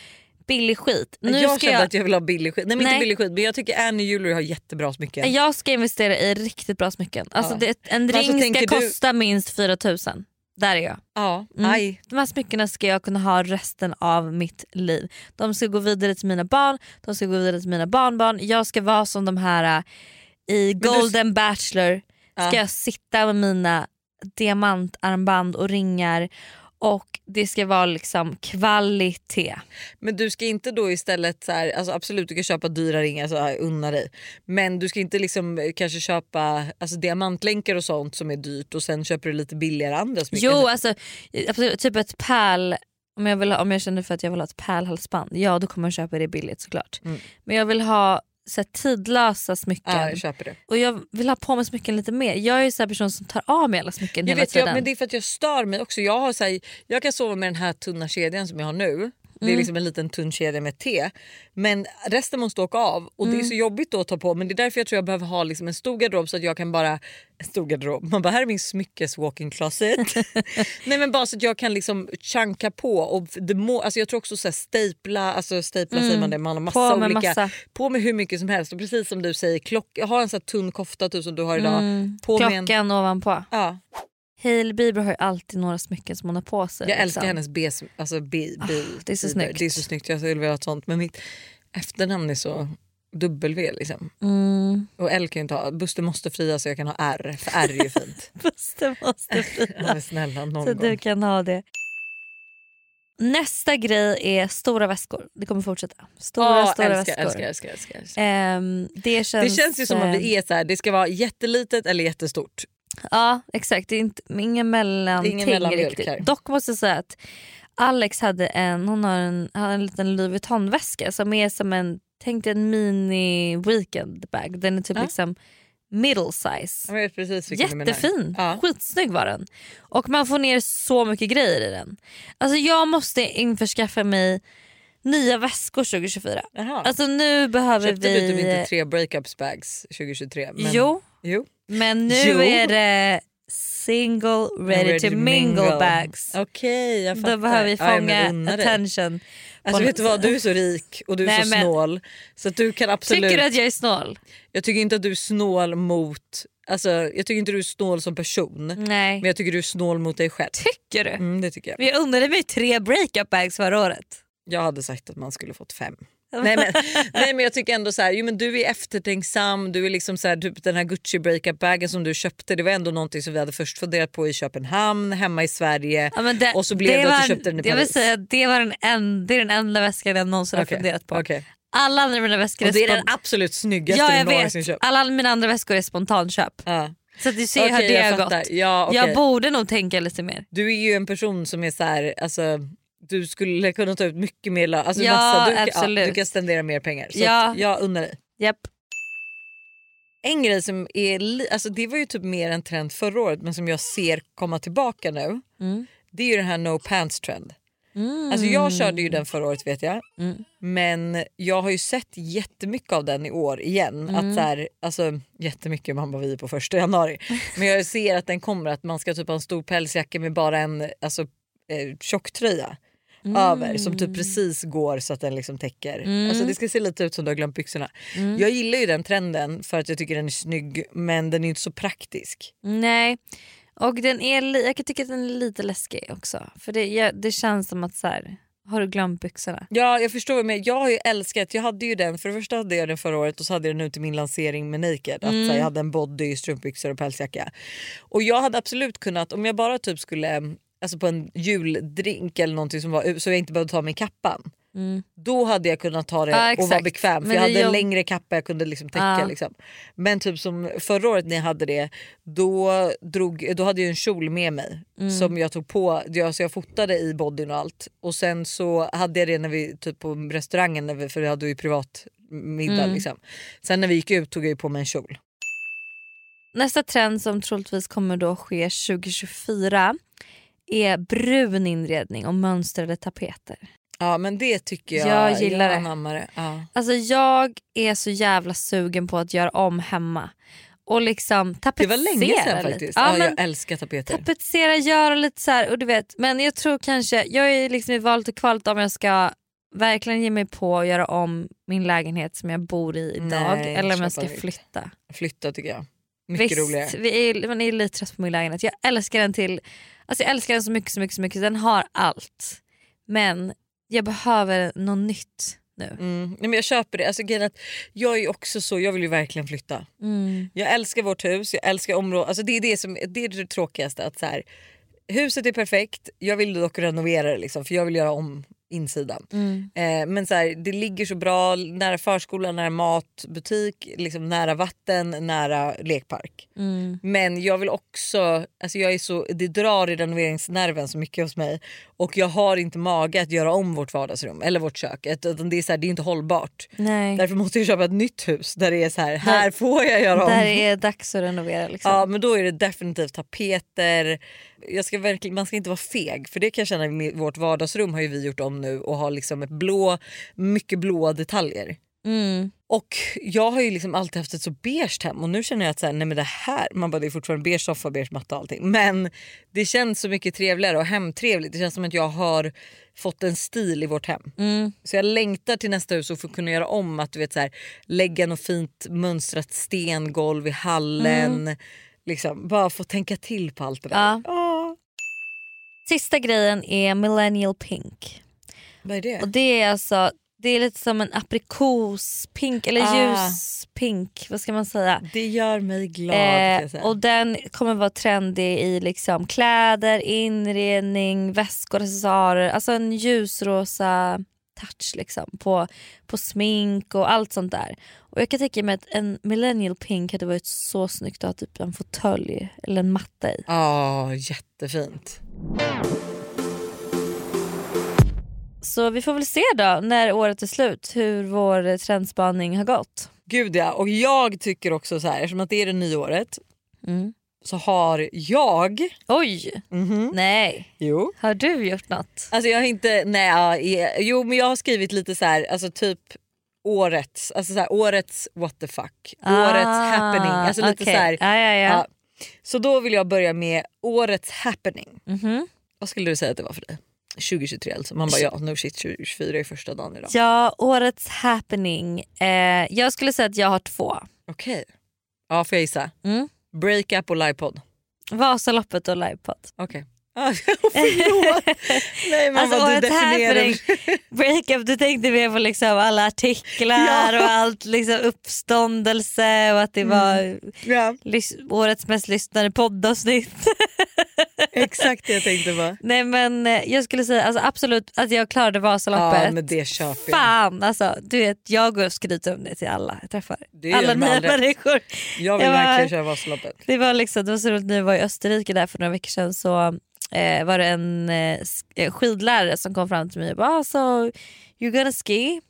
B: billig skit. Nu
A: jag
B: ska
A: kände
B: jag,
A: att jag vill ha billig skit. Nej, men
B: Nej.
A: inte billig skit men jag tycker Annie Jewelry har jättebra smycken.
B: jag ska investera i riktigt bra smycken. Alltså
A: Ja.
B: det, en
A: Men alltså,
B: ring ska
A: tänker du-
B: kosta minst 4000. Där är jag.
A: Ja,
B: Mm.
A: aj.
B: De här smyckena ska jag kunna ha resten av mitt liv. De ska gå vidare till mina barn, de ska gå vidare till mina barnbarn. Jag ska vara som de här äh, i
A: du-
B: Golden Bachelor ska
A: Ja.
B: jag sitta med mina diamantarmband och ringar och det ska vara liksom kvalitet.
A: Men du ska inte då istället, så här, alltså absolut du kan köpa dyra ringar, så här, unna dig. Men du ska inte liksom eh, kanske köpa alltså, diamantlänkar och sånt som är dyrt och sen köper du lite billigare andra smycken.
B: Jo alltså absolut, typ ett pärl, om jag, vill ha, om jag känner för att jag vill ha ett pärlhalsband, ja då kommer jag köpa det billigt såklart.
A: Mm.
B: Men jag vill ha så här, tidlösa
A: Ja,
B: smycken
A: jag köper det.
B: och jag vill ha på mig smycken lite mer. Jag är ju så här person som tar av mig alla smycken
A: Jag
B: hela
A: vet,
B: tiden.
A: jag, men det är för att jag stör mig också. Jag, har, så här, jag kan sova med den här tunna kedjan som jag har nu. Det är
B: Mm.
A: liksom en liten tunn kedja med T. Men resten måste åka av och
B: Mm.
A: det är så jobbigt då att ta på. Men det är därför jag tror jag behöver ha liksom en stor garderob så att jag kan bara... En stor garderob. Man bara här är min smyckes walking closet. Nej men bara så att jag kan liksom chanka på. Och det må, alltså jag tror också så här, stapla, alltså stapla säger man det, man har massa
B: Mm. På med
A: olika.
B: massa.
A: På med hur mycket som helst och precis som du säger, klock, ha en så här tunn kofta typ, som du har idag.
B: Mm,
A: På med en,
B: Klockan ovanpå.
A: ja.
B: Hailey Bieber har ju alltid några smycken som hon har på sig.
A: Jag älskar
B: liksom. Ah,
A: hennes B, alltså B, B,
B: det är så
A: Bieber.
B: snyggt.
A: Det är så snyggt. Jag skulle vilja ha ett sånt. Men mitt efternamn är så W liksom.
B: Mm.
A: Och L kan jag inte ha. Buster måste fria så jag kan ha R. För R är ju fint.
B: Fast det måste
A: ja,
B: fina.
A: men snälla någon
B: Så
A: gång.
B: du kan ha det. Nästa grej är stora väskor. Det kommer fortsätta. Stora,
A: Ja,
B: stora
A: älskar,
B: väskor.
A: älskar, älskar, älskar, älskar.
B: Ehm, det, känns,
A: Det känns ju som att
B: eh,
A: vi är så här, det ska vara jättelitet eller jättestort.
B: Ja exakt, det är inte, ingen mellanting
A: Ingen mellanmjölk
B: riktigt.
A: här.
B: Dock måste jag säga att Alex hade en, hon har en, har en liten Louis Vuitton-väska som är som en, tänk dig en mini weekend bag. Den är typ
A: Ja.
B: liksom middle
A: Jag
B: size.
A: vet precis vilken du menar.
B: Jättefin,
A: Ja.
B: skitsnygg var den. Och man får ner så mycket grejer i den. Alltså jag måste införskaffa mig nya väskor 2024.
A: Jaha.
B: Alltså nu behöver
A: Köpte
B: vi...
A: vi typ inte tre breakups bags 2023? Men,
B: Jo.
A: jo.
B: Men nu
A: Jo.
B: är det single ready, to mingle, bags.
A: Okej jag fattar.
B: Då behöver vi
A: Ja, ja, men
B: fånga
A: unna dig.
B: attention.
A: Alltså
B: på
A: vet du
B: något
A: vad,
B: sätt.
A: du är så rik och du är
B: Nej,
A: så
B: men-
A: snål. Så att du kan absolut...
B: Tycker du att jag är snål?
A: Jag tycker inte att du är snål mot... Alltså, jag tycker inte du är snål som person.
B: Nej.
A: Men jag tycker du är snål mot dig själv.
B: Tycker du?
A: Mm, det tycker jag.
B: Men jag undrade mig tre breakup bags förra året.
A: Jag hade sagt att man skulle fått fem. nej, men, nej men jag tycker ändå så här, jo, men du är eftertänksam, du är liksom så här, typ den här Gucci breakup bagen som du köpte det var ändå någonting som vi hade först funderat på i Köpenhamn, hemma i Sverige
B: Ja, men det,
A: och så blev det, att du köpte den i
B: jag vill
A: Paris.
B: säga, att det, var den en, det är den enda väskan jag någonsin
A: Okej,
B: har funderat på.
A: okej.
B: Alla andra mina väskor
A: Och det är den
B: spon-
A: absolut snyggaste
B: Ja jag
A: du någonsin
B: vet,
A: köpt.
B: alla mina andra väskor är spontanköp.
A: Ja.
B: Så att du ser hur
A: Okej,
B: det
A: jag
B: har
A: fattar.
B: gått.
A: Ja, okej.
B: Jag borde nog tänka lite mer.
A: Du är ju en person som är så här, alltså, du skulle kunna ta ut mycket mer lön. Alltså,
B: Ja,
A: massa, du, Kan, ja,
B: absolut.
A: du kan spendera mer pengar. Så
B: Ja.
A: att jag unnar dig.
B: Japp.
A: En grej som är, li- alltså, det var ju typ mer en trend förra året men som jag ser komma tillbaka nu.
B: Mm.
A: Det är ju den här no pants trend.
B: Mm.
A: Alltså, jag körde ju den förra året vet jag.
B: Mm.
A: Men jag har ju sett jättemycket av den i år igen.
B: Mm.
A: Att så här, alltså, jättemycket, man bara vi är på första januari. Men jag ser att den kommer att man ska typ ha en stor pälsjacka med bara en alltså, eh, tjocktröja över som typ precis går så att den liksom täcker. Alltså, det ska se lite ut som du har glömt byxorna. Jag gillar ju den trenden för att jag tycker den är snygg men den är ju inte så praktisk.
B: Nej. Och den är li- jag kan tycka att den är lite läskig också. För det, jag, det känns som att så här, har du glömt byxorna?
A: Ja jag förstår men jag har ju älskat, jag hade ju den, för det första hade jag den förra året och så hade jag den nu till min lansering med Naked. Att,
B: Mm.
A: så här, jag hade en body, strumpbyxor och pälsjacka. Och jag hade absolut kunnat, om jag bara typ skulle alltså på en juldrink eller någonting som var så jag inte behövde ta min kappan. Då hade jag kunnat ta det
B: Mm. Ja,
A: och vara
B: exakt.
A: bekväm för
B: Men
A: jag
B: det
A: hade en
B: jobb-
A: längre kappa jag kunde liksom täcka.
B: Ja.
A: Liksom. Men typ som förra året när jag hade det då, drog, då hade jag en kjol med mig
B: Mm.
A: som jag tog på, jag, så jag fotade i bodyn och allt. Och sen så hade jag det när vi typ på restaurangen när vi, för vi hade ju privat middag
B: Mm.
A: liksom. Sen när vi gick ut tog jag ju på mig en kjol.
B: Nästa trend som troligtvis kommer då ske 2024 är brun inredning och mönstrade tapeter.
A: Ja men det tycker jag.
B: Jag gillar det.
A: anammar det. Ja.
B: Alltså jag är så jävla sugen på att göra om hemma. Och liksom
A: Det
B: tapetsera
A: var länge sedan
B: lite.
A: faktiskt.
B: Ja,
A: Ja,
B: men
A: jag älskar tapeter.
B: tapetsera, göra lite så här, och du vet. Men jag tror kanske, jag är liksom i valet och kvalet om jag ska verkligen ge mig på att göra om min lägenhet som jag bor i idag
A: Nej,
B: eller om
A: köpa
B: jag ska
A: nytt.
B: flytta.
A: Flytta tycker jag. Mycket
B: Visst,
A: roligare.
B: Vi är, man är lite trött på min lägenhet. Jag älskar den till, alltså jag älskar den så mycket, så mycket, så mycket. Den har allt. Men jag behöver något nytt, nu.
A: Mm. Nej, men jag köper det. Alltså, grejen är att jag är ju också så, jag vill ju verkligen flytta.
B: Mm,
A: Jag älskar vårt hus, jag älskar området. Alltså, det, är det, som, det är det tråkigaste. Att så här, huset är perfekt, jag vill dock renovera det liksom, för jag vill göra om insidan.
B: Mm.
A: Eh, men så här, det ligger så bra nära förskola, nära matbutik, liksom, nära vatten, nära lekpark.
B: mm.
A: Men jag vill också, alltså jag är så, det drar i renoveringsnerven så mycket hos mig och jag har inte mage att göra om vårt vardagsrum eller vårt kök. Ett- Utan det, är så här, det är inte hållbart.
B: Nej.
A: Därför måste jag köpa ett nytt hus där det är så här, här får jag göra om.
B: Där är dags att renovera. Liksom.
A: Ja men då är det definitivt tapeter. Jag ska verkligen, man ska inte vara feg för det kan jag känna med vårt vardagsrum har ju vi gjort om nu och har liksom ett blå, mycket blåa detaljer.
B: Mm.
A: Och jag har ju liksom alltid haft ett så beige hem och nu känner jag att så här, nej men det här, man bara det är fortfarande beige soffa, beige matta och allting. Men det känns så mycket trevligare och hemtrevligt. Det känns som att jag har fått en stil i vårt hem. Så jag längtar till nästa hus och få kunna göra om att du vet så här, lägga något fint mönstrat stengolv i hallen. Liksom, bara få tänka till på allt det där.
B: Mm. Ja.
A: Åh,
B: Sista grejen är millennial pink.
A: vad är det?
B: Och det är alltså det är lite som en aprikospink eller
A: Ah.
B: ljuspink. Vad ska man säga?
A: Det gör mig glad. kan jag
B: Eh,
A: säga.
B: och den kommer vara trendig i liksom kläder, inredning, väskor, accessoarer. Alltså en ljusrosa touch liksom på, på smink och allt sånt där. Och jag kan tänka mig att en millennial pink hade varit så snyggt att ha typ en fåtölj eller en matta i.
A: Ja, jättefint.
B: Så vi får väl se då när året är slut hur vår eh, trendspaning har gått.
A: Gud ja, och jag tycker också så här, eftersom att det är det nya året
B: Mm.
A: så har jag...
B: Oj!
A: Mhm.
B: Nej,
A: Jo.
B: har du gjort något?
A: Alltså jag har inte, nej, ja, eh, jo men jag har skrivit lite så här, alltså typ årets, alltså så här, årets what the fuck, årets happening. Alltså lite
B: Ah, okej.
A: så här,
B: Ja, ja, ja.
A: Ja. Så då vill jag börja med årets happening.
B: Mhm.
A: Vad skulle du säga att det var för dig? 2023 alltså. Man bara ja, no shit 2024 är första dagen idag.
B: Ja, årets happening. Eh, jag skulle säga att jag har två.
A: Okej. Ja får jag gissa?
B: Mm.
A: Breakup och livepodd.
B: Vasaloppet och livepodd.
A: Okej. Ah, förlåt! Nej men
B: Alltså
A: vad du
B: årets happening,
A: definierar.
B: breakup, du tänkte mer på liksom alla artiklar och allt liksom uppståndelse och att det
A: Mm.
B: var
A: Ja,
B: lys- årets mest lyssnade poddavsnitt.
A: exakt det jag tänkte på.
B: Nej men eh, jag skulle säga alltså, absolut att jag klarade Vasaloppet.
A: Ja men det köper jag.
B: Fan alltså, du vet jag går och skryter om det till alla jag träffar.
A: Det gör
B: alla
A: de
B: nya
A: aldrig.
B: människor.
A: Jag vill
B: Jag bara-
A: verkligen köra Vasaloppet.
B: Det var, liksom, det var så roligt när vi var i Österrike där för några veckor sedan så eh, var det en eh, sk- eh, skidlärare som kom fram till mig och bara ah, so you're gonna ski?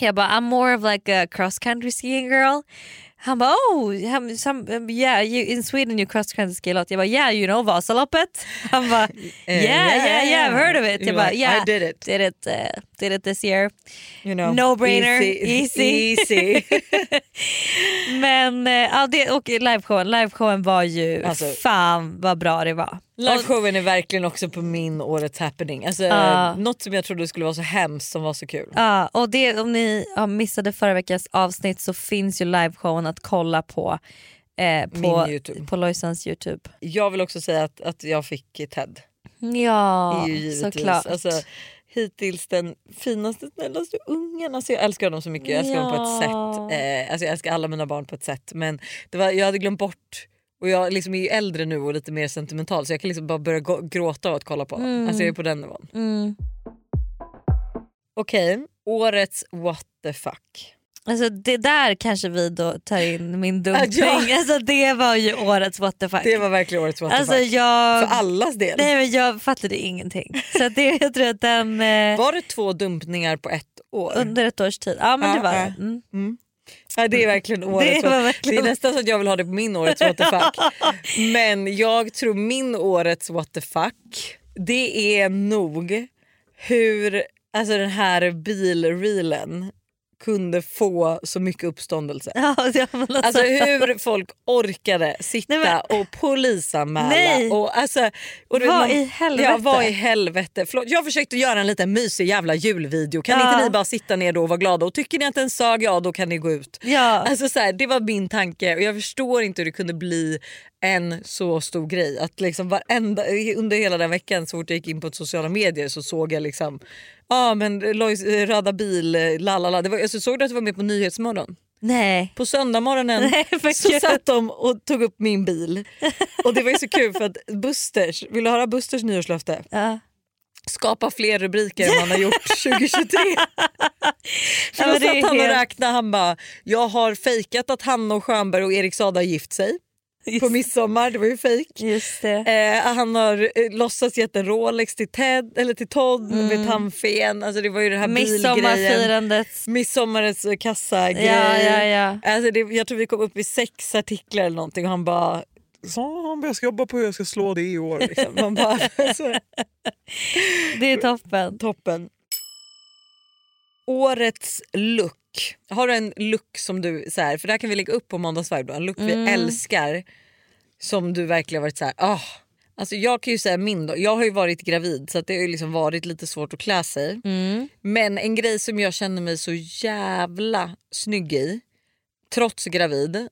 B: Jag bara I'm more of like a cross country skiing girl. Han bara oh han- some, um, yeah you, in Sweden you cross country ski a lot. Jag bara yeah you know Vasaloppet. Han bara
A: Eh,
B: yeah yeah yeah I've heard of it. Jag
A: You're
B: bara
A: like,
B: yeah
A: I did it.
B: did it, uh, did it this year.
A: You know,
B: No-brainer, easy.
A: easy.
B: Men eh, ja, det, och liveshowen, liveshowen var ju
A: Alltså-
B: fan vad bra det var.
A: Liveshowen är verkligen också på min årets happening. Alltså,
B: Ja.
A: Något som jag trodde skulle vara så hemskt som var så kul.
B: Ja, och det, om ni ja, missade förra veckans avsnitt så finns ju liveshowen att kolla på eh, på,
A: Min YouTube.
B: på Lojsans Youtube.
A: Jag vill också säga att, att jag fick Ted.
B: Ja,
A: är ju givetvis.
B: såklart.
A: Alltså, hittills den finaste, snällaste ungen. Alltså, jag älskar honom så mycket. Jag älskar honom på ett
B: Ja.
A: sätt. Eh, alltså, jag älskar alla mina barn på ett sätt. Men det var, jag hade glömt bort och jag liksom är ju äldre nu och lite mer sentimental så jag kan liksom bara börja gå- gråta av att kolla på honom. Alltså jag är på den nivån.
B: mm.
A: Okej, årets what the fuck.
B: alltså, det där kanske vi då tar in min dumpning.
A: Att jag-
B: Alltså, det var ju årets what the fuck.
A: Det var verkligen årets what the
B: alltså,
A: fuck.
B: jag,
A: För allas del.
B: nej, men jag fattade ingenting. Så att det, jag tror att den... Eh,
A: Var det två dumpningar på ett år?
B: under ett års tid. Ja men
A: Ja,
B: det var
A: ja.
B: det. Mm.
A: Ja, det är verkligen årets.
B: Det var
A: Det,
B: verkligen-
A: det är nästan så att jag vill ha det på min årets what the fuck. Men jag tror min årets what the fuck det är nog hur alltså den här bilreelen kunde få så mycket uppståndelse.
B: Ja, ja, men alltså,
A: Alltså hur folk orkade sitta
B: Nej,
A: och polisanmäla.
B: Nej.
A: Och, alltså, och du vet,
B: Vad
A: man-
B: i helvete?
A: Ja, vad i helvete. Förlåt, jag försökte göra en liten mysig jävla julvideo. Kan
B: Ja.
A: inte ni bara sitta ner då och vara glada? Och tycker ni att den sög, ja då kan ni gå ut.
B: ja.
A: Alltså så här, det var min tanke och jag förstår inte hur det kunde bli
D: en så stor grej. Att liksom varenda, under hela den veckan så fort jag gick in på sociala medier så såg jag liksom ah, men Lois eh, röda bil, eh, la la la. Det var, alltså, såg du att det var med på Nyhetsmorgon?
B: Nej.
D: På söndagsmorgonen
B: Nej, vad
D: så
B: kul.
D: satt de och tog upp min bil. Och det var ju så kul för att Busters, vill du höra Busters nyårslöfte?
B: Ja.
D: Skapa fler rubriker än han har gjort 2023. För
B: Ja, men
D: då
B: det
D: satt
B: är
D: han och
B: helt-
D: räknade. Han bara, jag har fejkat att Hanna och Stjernberg och Erik Saade har gift sig på midsommar. Det var ju fejk.
B: Just det.
D: Eh, han har eh, låtsats gett en Rolex till, Ted, eller till Todd
B: Mm.
D: med tandfen. Alltså det var ju det här bilgrejen.
B: Midsommarfirandet.
D: Midsommarens eh, kassagrej.
B: Ja, ja, ja.
D: Alltså det, jag tror vi kom upp i sex artiklar eller någonting och han bara så han bara, jag ska jobba på hur jag ska slå det i år. Liksom. Man bara, alltså,
B: Det
D: Mm.
B: är toppen.
D: toppen. Årets look. Har du en look som du, så här, för det här kan vi lägga upp på måndags vibe, då, en look vi älskar som du verkligen har varit så här, ah. Alltså jag kan ju säga min då. Jag har ju varit gravid så att det har ju liksom varit lite svårt att klä sig. Men en grej som jag känner mig så jävla snygg i, trots gravid,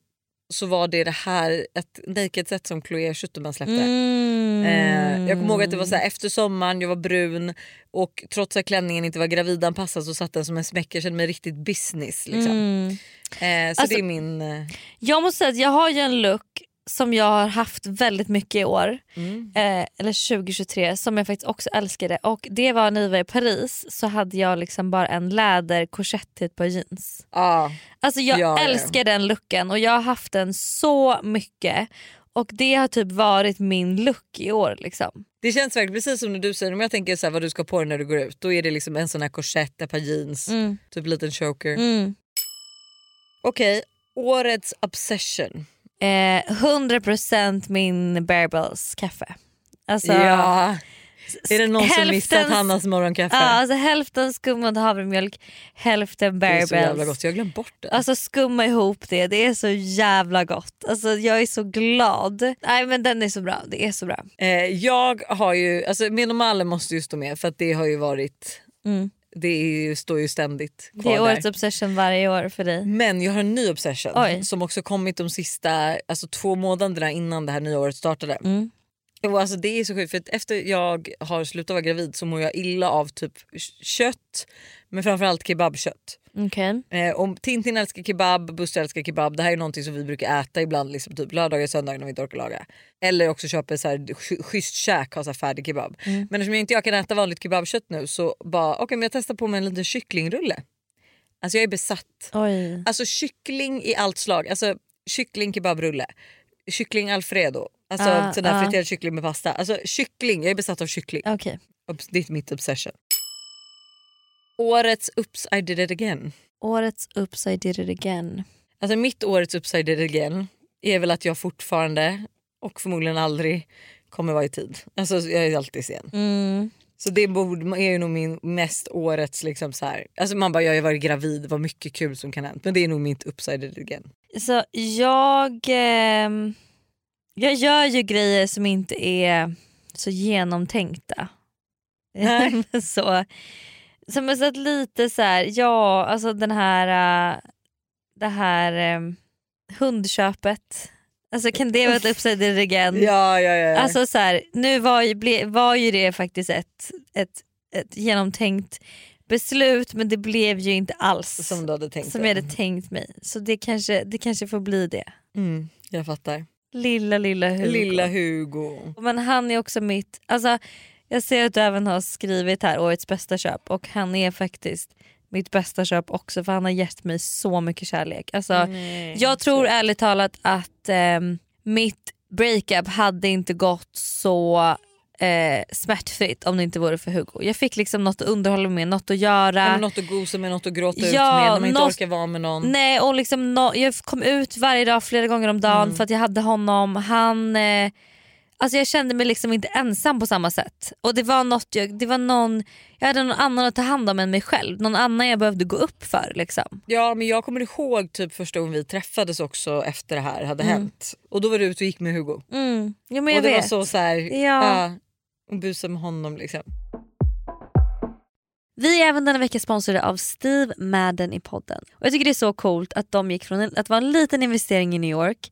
D: så var det det här ett naked set som Chloé Schuterman släppte. Eh, jag kommer ihåg att det var
B: Mm.
D: så här, efter sommaren, jag var brun och trots att klänningen inte var gravidanpassad så satt den som en smäck. Jag kände mig riktigt business. Liksom. Eh, så
B: Alltså-
D: det är min... eh,
B: Mm. Jag måste säga att jag har ju en look som jag har haft väldigt mycket i år, eh, eller 2023, som jag faktiskt också älskade. Och Det var när vi var i Paris så hade jag liksom bara en läderkorsett till ett par jeans.
D: Ah,
B: Alltså jag
D: Ja, ja.
B: älskar den looken och jag har haft den så mycket. Och det har typ varit min look i år. Liksom.
D: det känns verkligen precis som när du säger, om jag tänker så här, vad du ska på dig när du går ut, då är det liksom en sån här korsett, ett par jeans,
B: Mm.
D: typ liten choker. Okej, årets obsession.
B: Eh, 100% min Bearbells kaffe. Alltså,
D: ja. Är det någon som missat
B: hälftens-
D: Hannas morgonkaffe?
B: Ja, alltså hälften skummad havremjölk, hälften
D: det är så jävla
B: Bearbells.
D: gott, jag har glömt bort det.
B: Alltså skumma ihop det, det är så jävla gott. Alltså jag är så glad. Nej men den är så bra, det är så bra.
D: Eh, jag har ju, alltså Menomalle måste ju stå med för att det har ju varit, det är ju, står ju ständigt
B: Mm.
D: kvar
B: Det är årets
D: där.
B: obsession varje år för dig.
D: Men jag har en ny obsession
B: Oj.
D: som också kommit de sista alltså, två månaderna innan det här nya året startade.
B: Mm.
D: Och alltså, det är så sjukt för att efter jag har slutat vara gravid så mår jag illa av typ kött men framförallt kebabkött.
B: Okej.
D: Eh, om Tintin älskar kebab, Buster älskar kebab. Det här är någonting som vi brukar äta ibland liksom, typ lördagar och söndagar när vi inte orkar laga. Eller också köper så här, sch- schysst käk, har så här färdig kebab.
B: Mm.
D: Men eftersom jag inte jag kan äta vanligt kebabkött nu så bara okej men jag testar på mig en liten kycklingrulle. Alltså jag är besatt.
B: Oj.
D: Alltså kyckling i allt slag. Alltså kyckling kebabrulle, kyckling alfredo, alltså
B: Ah,
D: sån där
B: ah.
D: friterad kyckling med pasta. Alltså kyckling, jag är besatt av kyckling.
B: Okej.
D: Obs- Det är mitt obsession. Årets Oops I did it again.
B: Årets Oops I did it again.
D: Alltså mitt årets upside down again är väl att jag fortfarande och förmodligen aldrig kommer vara i tid. Alltså jag är alltid sen.
B: Mm.
D: Så det borde- är ju nog min mest årets liksom så här. Alltså man bara jag har ju varit gravid, vad mycket kul som kan ha hänt. Men det är nog mitt upside down again.
B: Så jag, ehm, jag gör ju grejer som inte är så genomtänkta.
D: Nej.
B: så, som är så att lite så här, ja alltså den här, äh, det här ehm, hundköpet. Alltså kan det vara ett upside down again?
D: Ja, ja, ja.
B: Mm. Alltså så här, nu var ju, ble, var ju det faktiskt ett, ett, ett genomtänkt beslut men det blev ju inte alls
D: som du hade tänkt.
B: som
D: dig.
B: jag hade tänkt mig. Så det kanske, det kanske får bli det.
D: mm, jag fattar.
B: Lilla lilla Hugo.
D: Lilla Hugo.
B: Men han är också mitt, alltså jag ser att du även har skrivit här årets bästa köp och han är faktiskt mitt bästa köp också för han har gett mig så mycket kärlek. Alltså,
D: Mm.
B: jag tror ärligt talat att ehm, mitt breakup hade inte gått så eh, smärtfritt om det inte vore för Hugo. Jag fick liksom något att underhålla mig med, något att göra.
D: Men något att gosa med, något att gråta ut
B: Ja,
D: med när man inte
B: något-
D: orkar vara med någon.
B: Nej och liksom no, jag kom ut varje dag flera gånger om dagen för att jag hade honom. Han, eh, alltså jag kände mig liksom inte ensam på samma sätt. Och det var något jag, det var någon, jag hade någon annan att ta hand om än mig själv. Någon annan jag behövde gå upp för. Liksom.
D: Ja men jag kommer ihåg typ första gången vi träffades också efter det här hade hänt. Och då var du ute och gick med Hugo.
B: Mm. Jo, men
D: och
B: jag
D: det
B: vet.
D: var så så här,
B: Ja.
D: ja, och busa med honom liksom.
B: Vi är även denna vecka sponsrade av Steve Madden i podden. Och jag tycker det är så coolt att de gick från en, att vara en liten investering i New York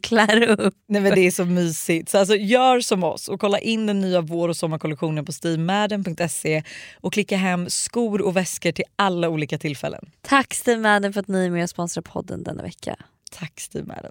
B: klär upp.
D: Nej men det är så mysigt. Så alltså, gör som oss och kolla in den nya vår och sommarkollektionen på steamadden.se och klicka hem skor och väskor till alla olika tillfällen.
B: Tack Steve Madden för att ni är med och sponsrar podden denna vecka.
D: Tack Steamadden.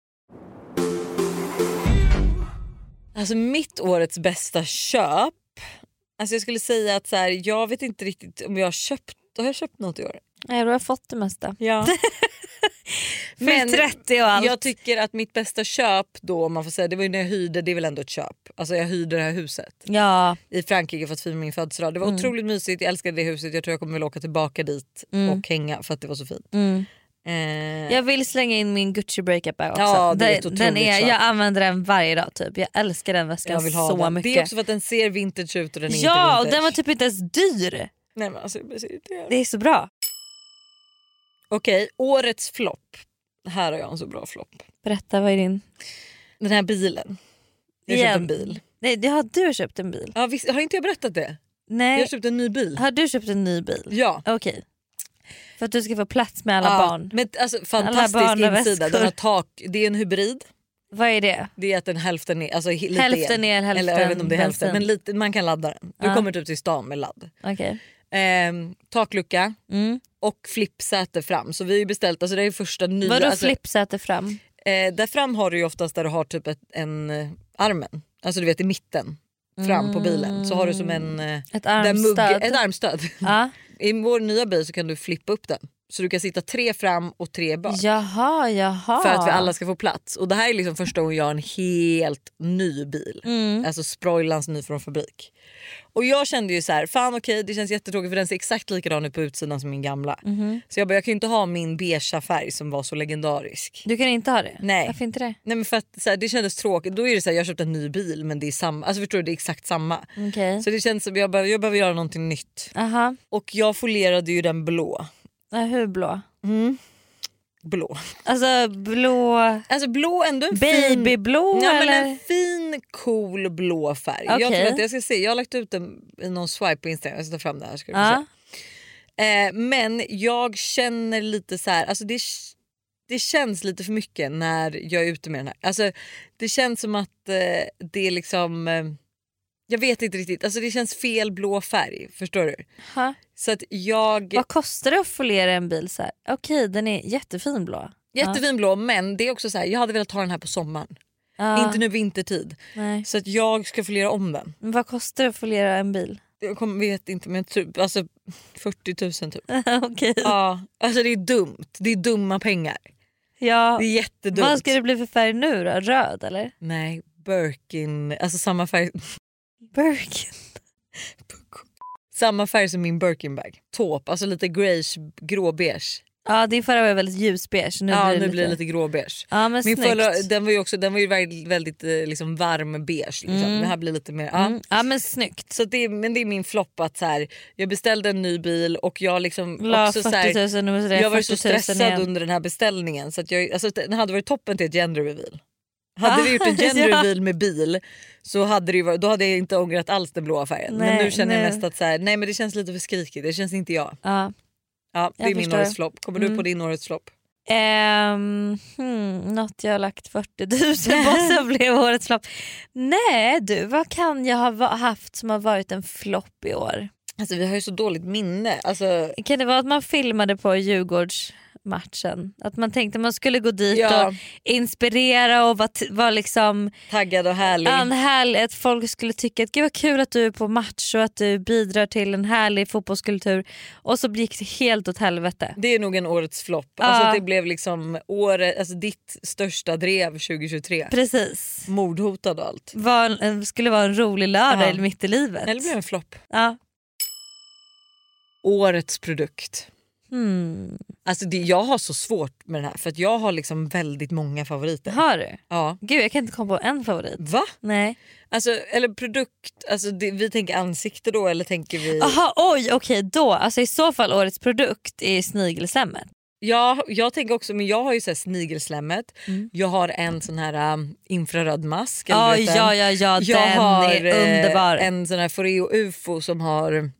D: Alltså mitt årets bästa köp. Alltså jag skulle säga att så här, jag vet inte riktigt om jag har köpt har jag köpt något i år?
B: Nej, du har fått det mesta.
D: Ja.
B: Men 30 och allt.
D: Jag tycker att mitt bästa köp då om man får säga det var ju när jag hyrde, det är väl ändå ett köp. Alltså jag hyrde det här huset.
B: ja.
D: i Frankrike för att fira min födelsedag. Det
B: Mm.
D: var otroligt mysigt, jag älskade det huset. Jag tror jag kommer väl åka tillbaka dit och hänga för att det var så fint. Eh,
B: Mm. Jag vill slänga in min Gucci breakup här också.
D: Ja, det är ett
B: den,
D: otroligt
B: den är,
D: köp.
B: jag använder den varje dag typ. Jag älskar den väskan
D: jag vill ha
B: så
D: den.
B: mycket.
D: Det är också för att den ser vintage ut och den är
B: ja,
D: inte
B: och
D: vintage.
B: den var typ inte ens dyr.
D: Nej, men alltså, jag blir så irriterad.
B: Det är så bra.
D: Okej, årets flopp. Här har jag en så bra flopp.
B: Berätta, vad är din?
D: Den här bilen. Jag har köpt
B: Igen.
D: en bil.
B: Nej, det har du köpt en bil?
D: Ja, visst, har inte jag berättat det? Jag
B: Nej,
D: har köpt en ny bil.
B: har du köpt en ny bil?
D: Ja.
B: Okej. För att du ska få plats med alla
D: Ja,
B: barn.
D: Men, alltså, fantastisk
B: barn och
D: insida. Den
B: väskor.
D: har tak. Det är en hybrid.
B: Vad är det?
D: Det är att den hälften är... Alltså, hi- lite
B: Hälften el, hälften
D: Eller jag vet inte om det är hälften.
B: bensin.
D: Men lite, man kan ladda den. Du
B: Ja.
D: kommer typ till stan med ladd.
B: Okej.
D: Ehm, taklucka
B: Mm.
D: och flippsäte fram. Så vi har ju beställt, alltså det är ju första nya.
B: Vadå
D: alltså,
B: flippsäte fram?
D: eh, där fram har du ju oftast där du har typ ett, en eh, armen. Alltså du vet i mitten fram på bilen så har du som en eh,
B: Ett
D: där
B: armstöd?
D: mugg- ett armstöd.
B: ja.
D: I vår nya bil så kan du flippa upp den. Så du kan sitta tre fram och tre bak.
B: Jaha, jaha.
D: För att vi alla ska få plats. Och det här är liksom första gången jag har en helt ny bil. Alltså sproilans ny från fabrik. Och jag kände ju så här, fan okej det känns jättetråkigt för den ser exakt likadan ut på utsidan som min gamla. Så jag bara, jag kan ju inte ha min beigea färg som var så legendarisk.
B: Du kan inte ha det?
D: Nej.
B: Varför inte det?
D: Nej men för att så här, det kändes tråkigt. Då är det så här, jag har köpt en ny bil men det är samma, alltså förstår du det är exakt samma.
B: Okej.
D: Så det känns som jag behöver, jag behöver göra någonting nytt.
B: Aha.
D: Och jag folerade ju den blå.
B: Ja, hur blå?
D: Blå.
B: Alltså blå...
D: Alltså blå ändå en fin
B: Babyblå
D: Ja, men
B: eller?
D: en fin cool blå färg. Jag,
B: Okej.
D: tror att jag, ska se. jag har lagt ut den i någon swipe på Instagram. Jag ska ta fram det här. Ska du få
B: Ja.
D: se. eh, men jag känner lite så här, alltså det, det känns lite för mycket när jag är ute med den här. Alltså, det känns som att eh, det är liksom, eh, jag vet inte riktigt, alltså det känns fel blå färg. Förstår du?
B: Ha.
D: Så att jag,
B: Vad kostar det att foliera en bil så här? Okej, den är jättefin blå.
D: jättefin blå men det är också så här, jag hade velat ha den här på sommaren.
B: Ja,
D: Inte nu vintertid.
B: Nej.
D: Så att jag ska foliera om den.
B: Men vad kostar det att foliera en bil?
D: jag kommer, vet inte men typ alltså 40 000 typ.
B: Okej.
D: Ja, alltså det är dumt. Det är dumma pengar.
B: Ja.
D: Det är jättedumt.
B: Vad ska det bli för färg nu då? Röd eller?
D: Nej, Birkin, alltså samma färg,
B: Birkin.
D: samma färg som min Birkin bag. Taupe, alltså lite grayish, gråbeige.
B: Ja, din förra var väldigt ljusbeige. Nu
D: ja,
B: blir det
D: nu
B: lite...
D: blir det lite gråbeige.
B: Ja, men
D: Min
B: snyggt.
D: förra, den var ju också den var ju väldigt, väldigt eh, liksom varm beige. Liksom. Det här blir lite mer... Ja.
B: Mm. Ja men snyggt.
D: Så det, är- men det är min flopp att så här, jag beställde en ny bil och jag liksom
B: La
D: också
B: 40
D: så
B: 000
D: här,
B: och så
D: jag var så
B: 40 000
D: stressad
B: igen.
D: under den här beställningen. Så att jag, alltså, den hade varit toppen till ett gender reveal. Hade
B: Ah,
D: vi gjort en gender
B: ja.
D: reveal med bil så hade det ju varit, då hade jag inte ångrat alls den blåa färgen. men
B: Nej,
D: nu känner jag
B: nej.
D: mest att så här, nej men det känns lite för skrikigt, det känns inte jag.
B: Ja.
D: Ja, det
B: Jag
D: är min
B: förstår.
D: årets flopp. Kommer du
B: Mm.
D: på din årets flopp?
B: Ehm, hmm, något jag har lagt 40 000 på som blev årets flopp. Nej du, vad kan jag ha va- haft som har varit en flopp i år?
D: Alltså vi har ju så dåligt minne. Alltså,
B: Kan det vara att man filmade på Djurgårdsmatchen? Att man tänkte man skulle gå dit och
D: ja,
B: inspirera och vara t- vara liksom
D: taggad och härlig.
B: en härlig, att folk skulle tycka att gud vad kul att du är på match och att du bidrar till en härlig fotbollskultur och så gick det helt åt helvete.
D: Det är nog en årets flopp. Alltså
B: Ja.
D: att det blev liksom året, alltså ditt största drev 2023.
B: Precis.
D: Mordhotad och allt.
B: Var, en- skulle vara en rolig lördag
D: Ja.
B: eller mitt i livet.
D: Eller blev det en flopp?
B: ja.
D: Årets produkt.
B: hmm.
D: Alltså det, jag har så svårt med den här för att jag har liksom väldigt många favoriter.
B: Har du?
D: Ja.
B: Gud jag kan inte komma på en favorit.
D: Va?
B: Nej.
D: Alltså, eller produkt, alltså det, vi tänker ansikte då eller tänker vi...
B: Aha, oj okej då. Alltså, I så fall årets produkt är snigelsemmet.
D: Ja, jag tänker också, men jag har ju så här snigelslemmet,
B: Mm.
D: jag har en sån här um, infraröd mask. eller
B: Ah, Ja
D: du vet den.
B: ja ja, ja
D: jag
B: den
D: har
B: är
D: eh,
B: underbar.
D: en sån här Foreo UFO som har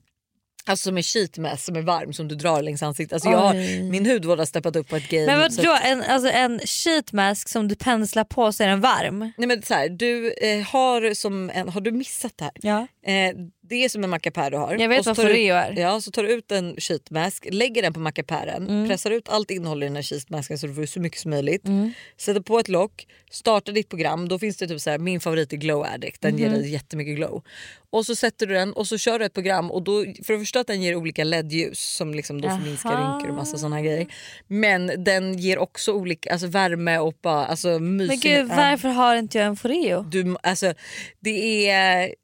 D: Alltså som är sheet mask som är varm som du drar längs ansiktet. Alltså jag har,
B: Oj.
D: min typ- hudvård har steppat upp på ett game.
B: Men
D: så
B: vadå en, alltså, en sheet mask som du penslar på så är den varm?
D: Nej men så här, du eh, har som en, har du missat det här?
B: Ja.
D: Eh, det är som en mackapär du har.
B: Jag vet
D: Och så
B: vad
D: tar du-
B: Foreo är.
D: Ja, så tar du ut en sheet mask, lägger den på mackapären,
B: Mm.
D: pressar ut allt innehåll i den här sheet masken så du får ut så mycket som möjligt.
B: Mm.
D: Sätter på ett lock, startar ditt program, då finns det typ så här, min favorit är glow addict, den
B: Mhm.
D: ger dig jättemycket glow. Och så sätter du den och så kör du ett program och då, för det första att den ger olika LED-ljus som liksom då förminskar
B: Aha.
D: rynkor och massa sådana grejer. Men den ger också olika, alltså värme och bara alltså mysig,
B: Men gud
D: ja.
B: varför har inte jag en Foreo?
D: Du, alltså, det är...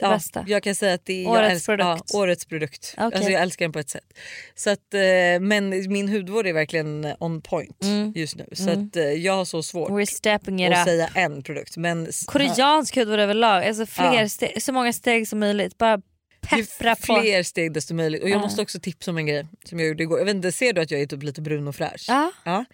B: Det bästa.
D: Jag kan säga att det är jag
B: Årets
D: älsk-
B: produkt.
D: Ja, årets produkt.
B: Okej.
D: Alltså, jag älskar den på ett sätt. Så att, eh, men min hudvård är verkligen on point
B: Mm.
D: just nu. Så
B: Mm.
D: att, eh, jag har så svårt
B: We're stepping it
D: att
B: up.
D: säga en produkt. Men s-
B: Koreansk hudvård överlag, alltså fler
D: Ja.
B: ste- så många steg som möjligt. Bara
D: ju
B: peppra på.
D: fler steg desto möjligt. Och jag
B: Ja.
D: måste också tipsa om en grej som jag gjorde igår. Jag vet inte, ser du att jag är typ lite brun och fräsch?
B: Ja.
D: Ja.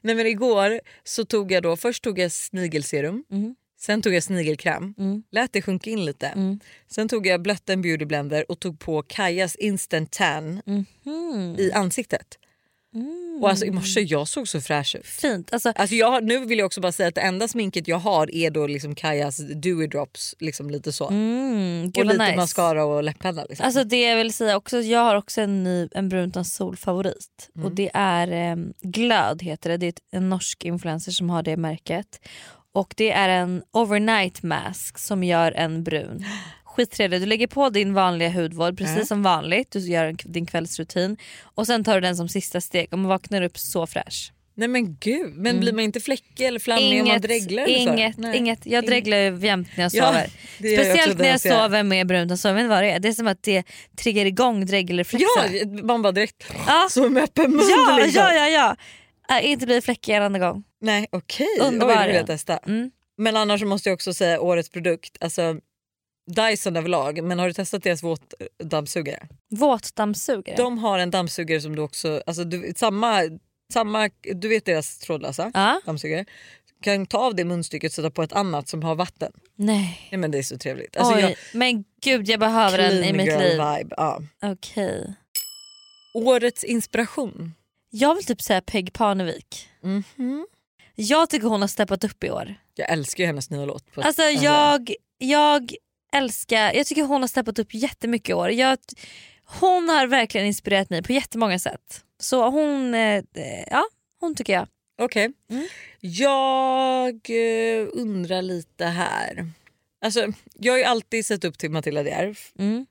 D: Nej, men igår så tog jag då, först tog jag snigelserum,
B: Mm.
D: sen tog jag snigelkräm,
B: Mm.
D: lät det sjunka in lite.
B: Mm.
D: Sen tog jag blötte en beauty blender och tog på Kajas instant tan
B: Mm.
D: i ansiktet. Och alltså i morse jag såg så fräsch ut.
B: Fint. Alltså,
D: Alltså jag, har- nu vill jag också bara säga att det enda sminket jag har är då liksom Kajas dewy drops, liksom lite så.
B: mm,
D: och
B: gud
D: lite
B: vad nice.
D: mascara och läpparna. Liksom.
B: Alltså det jag vill säga också, jag har också en ny en brun solfavorit
D: Mm.
B: och det är em, Glöd heter det. Det är ett- en norsk influencer som har det märket. Och det är en overnight mask som gör en brun. Skittrevlig. Du lägger på din vanliga hudvård precis
D: Mm.
B: som vanligt, du gör en, din kvällsrutin och sen tar du den som sista steg och man vaknar upp så fräsch.
D: Nej men gud, men blir man inte fläckig eller flammig om man dreglar? eller så?
B: Mm. inget,
D: Nej.
B: inget. Jag dreglar ju jämt när jag
D: Ja,
B: sover.
D: det gör jag också,
B: Speciellt
D: det
B: när jag
D: måste jag göra.
B: sover med brunt och sover. Vet ni vad det är? Det är som att det triggar igång dregelreflexen.
D: Ja, man bara direkt
B: Ja.
D: så med öppen mun.
B: Ah. Ja,
D: liksom.
B: ja, ja, ja. Äh, inte bli fläckig en annan gång.
D: Nej okej,
B: Underbar.
D: Oj, det vill jag testa.
B: Mm.
D: Men annars så måste jag också säga årets produkt, alltså Dyson överlag, men har du testat deras våtdammsugare?
B: Våtdammsugare.
D: De har en dammsugare som du också, alltså du, samma, samma, du vet deras trådlösa
B: Ja.
D: dammsugare. Du kan ta av det munstycket och sätta på ett annat som har vatten.
B: Nej.
D: Nej men det är så trevligt. Alltså,
B: Oj,
D: jag,
B: men gud jag behöver
D: clean
B: den i mitt
D: girl
B: liv.
D: vibe. Ja.
B: Okej.
D: Årets inspiration.
B: Jag vill typ säga Peg Parnevik.
D: Mhm.
B: Jag tycker hon har steppat upp i år.
D: Jag älskar ju hennes nya låt. På
B: Alltså jag, jag älskar, jag tycker hon har steppat upp jättemycket i år. Jag, hon har verkligen inspirerat mig på jättemånga sätt. Så hon, eh, ja hon tycker jag.
D: Okej.
B: Mm.
D: Jag eh, undrar lite här. Alltså, jag har ju alltid sett upp till Matilda Djerf.
B: Mm.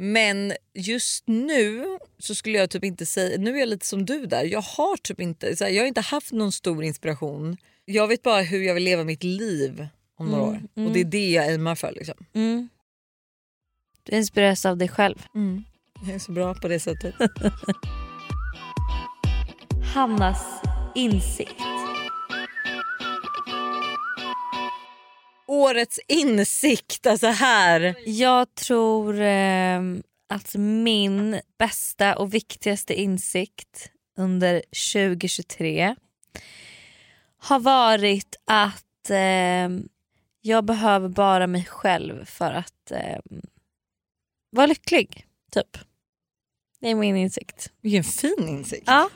D: Men just nu så skulle jag typ inte säga... Nu är jag lite som du där. Jag har typ inte, så här, jag har inte haft någon stor inspiration. Jag vet bara hur jag vill leva mitt liv om några
B: Mm,
D: år.
B: mm.
D: Och det är det jag aimar för. Liksom.
B: Mm. Du inspireras av dig själv.
D: Jag är så bra på det sättet.
B: Hannas insikt.
D: Årets insikt, alltså här.
B: Jag tror eh, att min bästa och viktigaste insikt under 2023 har varit att eh, jag behöver bara mig själv för att eh, vara lycklig. Typ. Det är min insikt.
D: Vilken fin insikt.
B: Ja.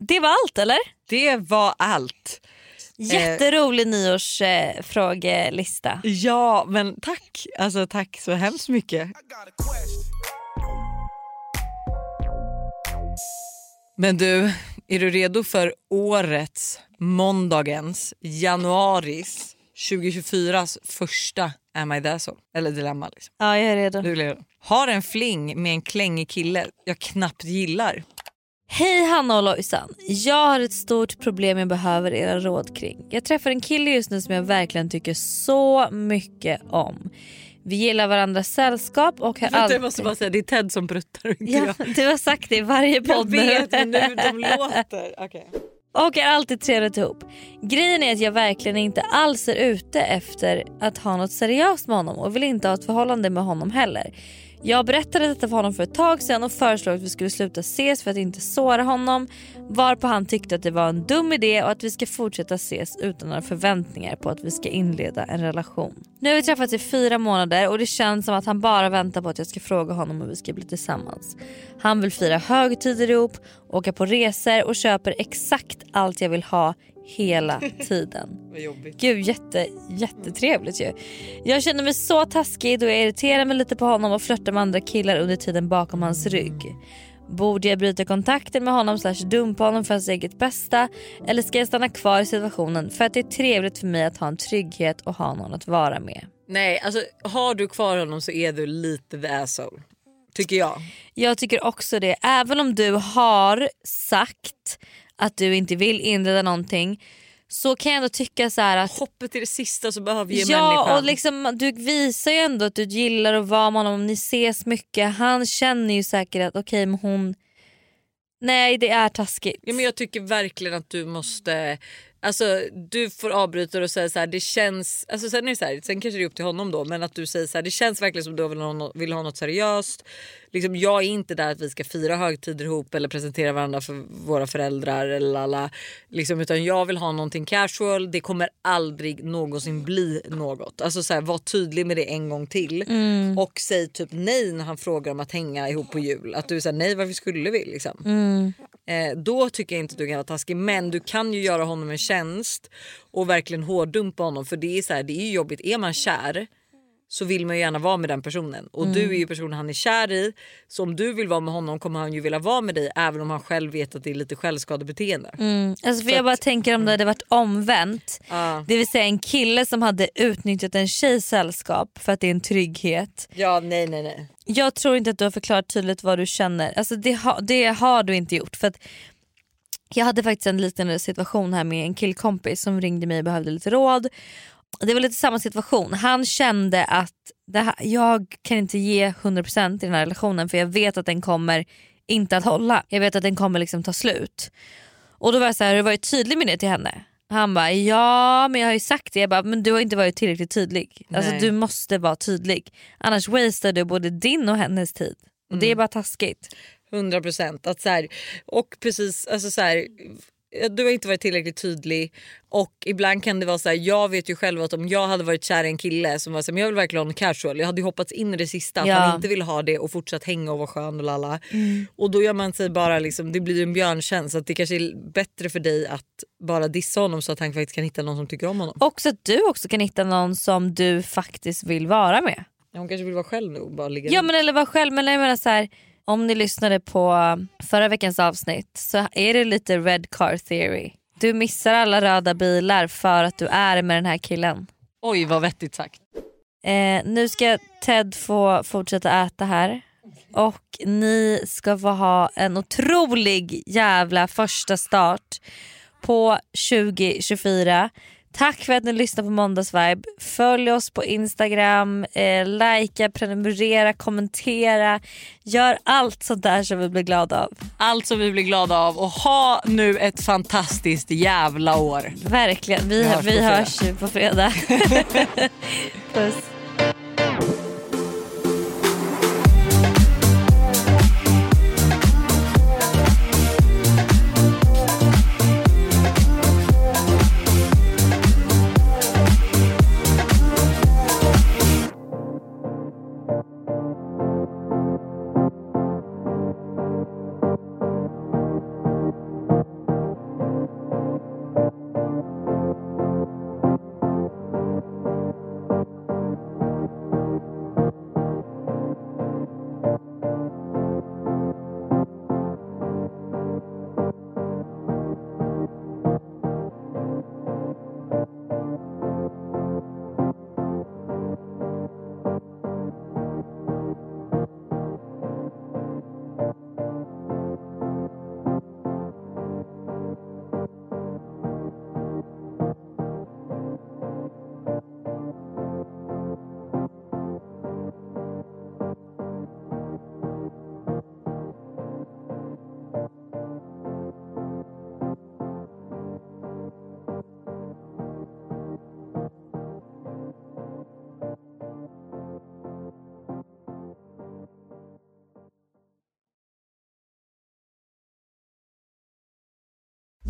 B: Det var allt eller?
D: Det var allt. Eh,
B: Jätterolig nyårsfrågelista.
D: Ja, men tack. Alltså, tack så hemskt mycket. Men du, är du redo för årets, måndagens, januaris 2024s första Am I there so? Eller dilemma. Liksom.
B: Ja, jag är redo.
D: Du är redo. Har en fling med en klängig kille jag knappt gillar.
B: Hej Hanna och Lojsan. Jag har ett stort problem jag behöver era råd kring. Jag träffar en kille just nu som jag verkligen tycker så mycket om. Vi gillar varandras sällskap och har
D: Vänta,
B: alltid...
D: jag måste bara säga, det är Ted som pruttar och inte
B: Ja,
D: jag.
B: du har sagt det i varje
D: Jag
B: podd nu.
D: vet men nu de låter. Okay.
B: och är alltid trevligt ihop. Grejen är att jag verkligen inte alls är ute efter att ha något seriöst med honom och vill inte ha ett förhållande med honom heller. Jag berättade detta för honom för ett tag sedan och föreslog att vi skulle sluta ses för att inte såra honom varpå han tyckte att det var en dum idé och att vi ska fortsätta ses utan några förväntningar på att vi ska inleda en relation. Nu har vi träffats i fyra månader och det känns som att han bara väntar på att jag ska fråga honom om vi ska bli tillsammans. Han vill fira högtider ihop, åka på resor och köper exakt allt jag vill ha hela tiden.
D: Vad jobbigt.
B: Gud, jätte, jättetrevligt ju. Jag känner mig så taskig då jag irriterar mig lite på honom och flörtar med andra killar under tiden bakom hans rygg. Borde jag bryta kontakten med honom slash dumpa honom för hans eget bästa eller ska jag stanna kvar i situationen för att det är trevligt för mig att ha en trygghet och ha någon att vara med?
D: Nej, alltså har du kvar honom så är du lite the asshole. Tycker jag.
B: Jag tycker också det. Även om du har sagt att du inte vill inleda någonting så kan jag ändå tycka så här att
D: Hoppet till det sista så behöver ge
B: ja,
D: människan.
B: och liksom, du visar ju ändå att du gillar att vara med honom om ni ses mycket. Han känner ju säkert att okej men hon... Nej det är taskigt.
D: ja, men jag tycker verkligen att du måste... Alltså, du får avbryta och säga så här, det känns... Alltså, sen, är det så här, sen kanske det är upp till honom då, men att du säger så här, det känns verkligen som du vill ha, nå- vill ha något seriöst. Liksom, jag är inte där att vi ska fira högtider ihop eller presentera varandra för våra föräldrar. Eller alla, liksom, utan jag vill ha någonting casual, det kommer aldrig någonsin bli något. Alltså, så här, var tydlig med det en gång till. Och säg typ nej när han frågar om att hänga ihop på jul. Att du säger nej varför skulle vi? Liksom. Eh, då tycker jag inte att du kan vara taskig men du kan ju göra honom en tjänst och verkligen hårddumpa honom för det är, så här, det är ju jobbigt. Är man kär så vill man ju gärna vara med den personen och du är ju personen han är kär i så om du vill vara med honom kommer han ju vilja vara med dig även om han själv vet att det är lite självskadebeteende.
B: Alltså för jag bara tänker om det hade varit omvänt.
D: Mm. Ja.
B: Det vill säga en kille som hade utnyttjat en tjejs sällskap för att det är en trygghet.
D: Ja nej nej nej.
B: Jag tror inte att du har förklarat tydligt vad du känner. Alltså det, ha, det har du inte gjort. För att jag hade faktiskt en liten situation här med en killkompis som ringde mig och behövde lite råd. Det var lite samma situation. Han kände att det här, jag kan inte ge 100% i den här relationen för jag vet att den kommer inte att hålla. Jag vet att den kommer liksom ta slut. Och då var jag så här, har du varit tydlig med det till henne? Han bara ja men jag har ju sagt det. Jag bara, men du har inte varit tillräckligt tydlig. Alltså
D: Nej.
B: du måste vara tydlig. Annars wastear du både din och hennes tid. Och Det är bara taskigt.
D: 100 procent. Och precis, alltså så här, du har inte varit tillräckligt tydlig och ibland kan det vara så här, jag vet ju själv att om jag hade varit kär i en kille som var så här, men jag vill verkligen ha en casual, jag hade ju hoppats in i det sista att
B: Ja. Mm.
D: han inte vill ha det och fortsatt hänga och vara skön och lalla. Och då gör man sig bara liksom, det blir ju en björntjänst att det kanske är bättre för dig att bara dissa honom så att han faktiskt kan hitta någon som tycker om honom.
B: Också att du också kan hitta någon som du faktiskt vill vara med.
D: Hon kanske vill vara själv nu och bara ligga
B: Ja men eller var själv. Men jag menar så här, om ni lyssnade på um, förra veckans avsnitt så är det lite red car theory. Du missar alla röda bilar för att du är med den här killen.
D: Oj vad vettigt sagt.
B: Eh, nu ska Ted få fortsätta äta här. Och ni ska få ha en otrolig jävla första start på 2024. Tack för att ni lyssnar på Måndagsvibe. Följ oss på Instagram, eh, likea, prenumerera, kommentera. Gör allt sånt där som vi blir glada av.
D: Allt som vi blir glada av och ha nu ett fantastiskt jävla år.
B: Verkligen. Vi, vi hörs,
D: hörs på fredag.
B: ju på fredag. Puss.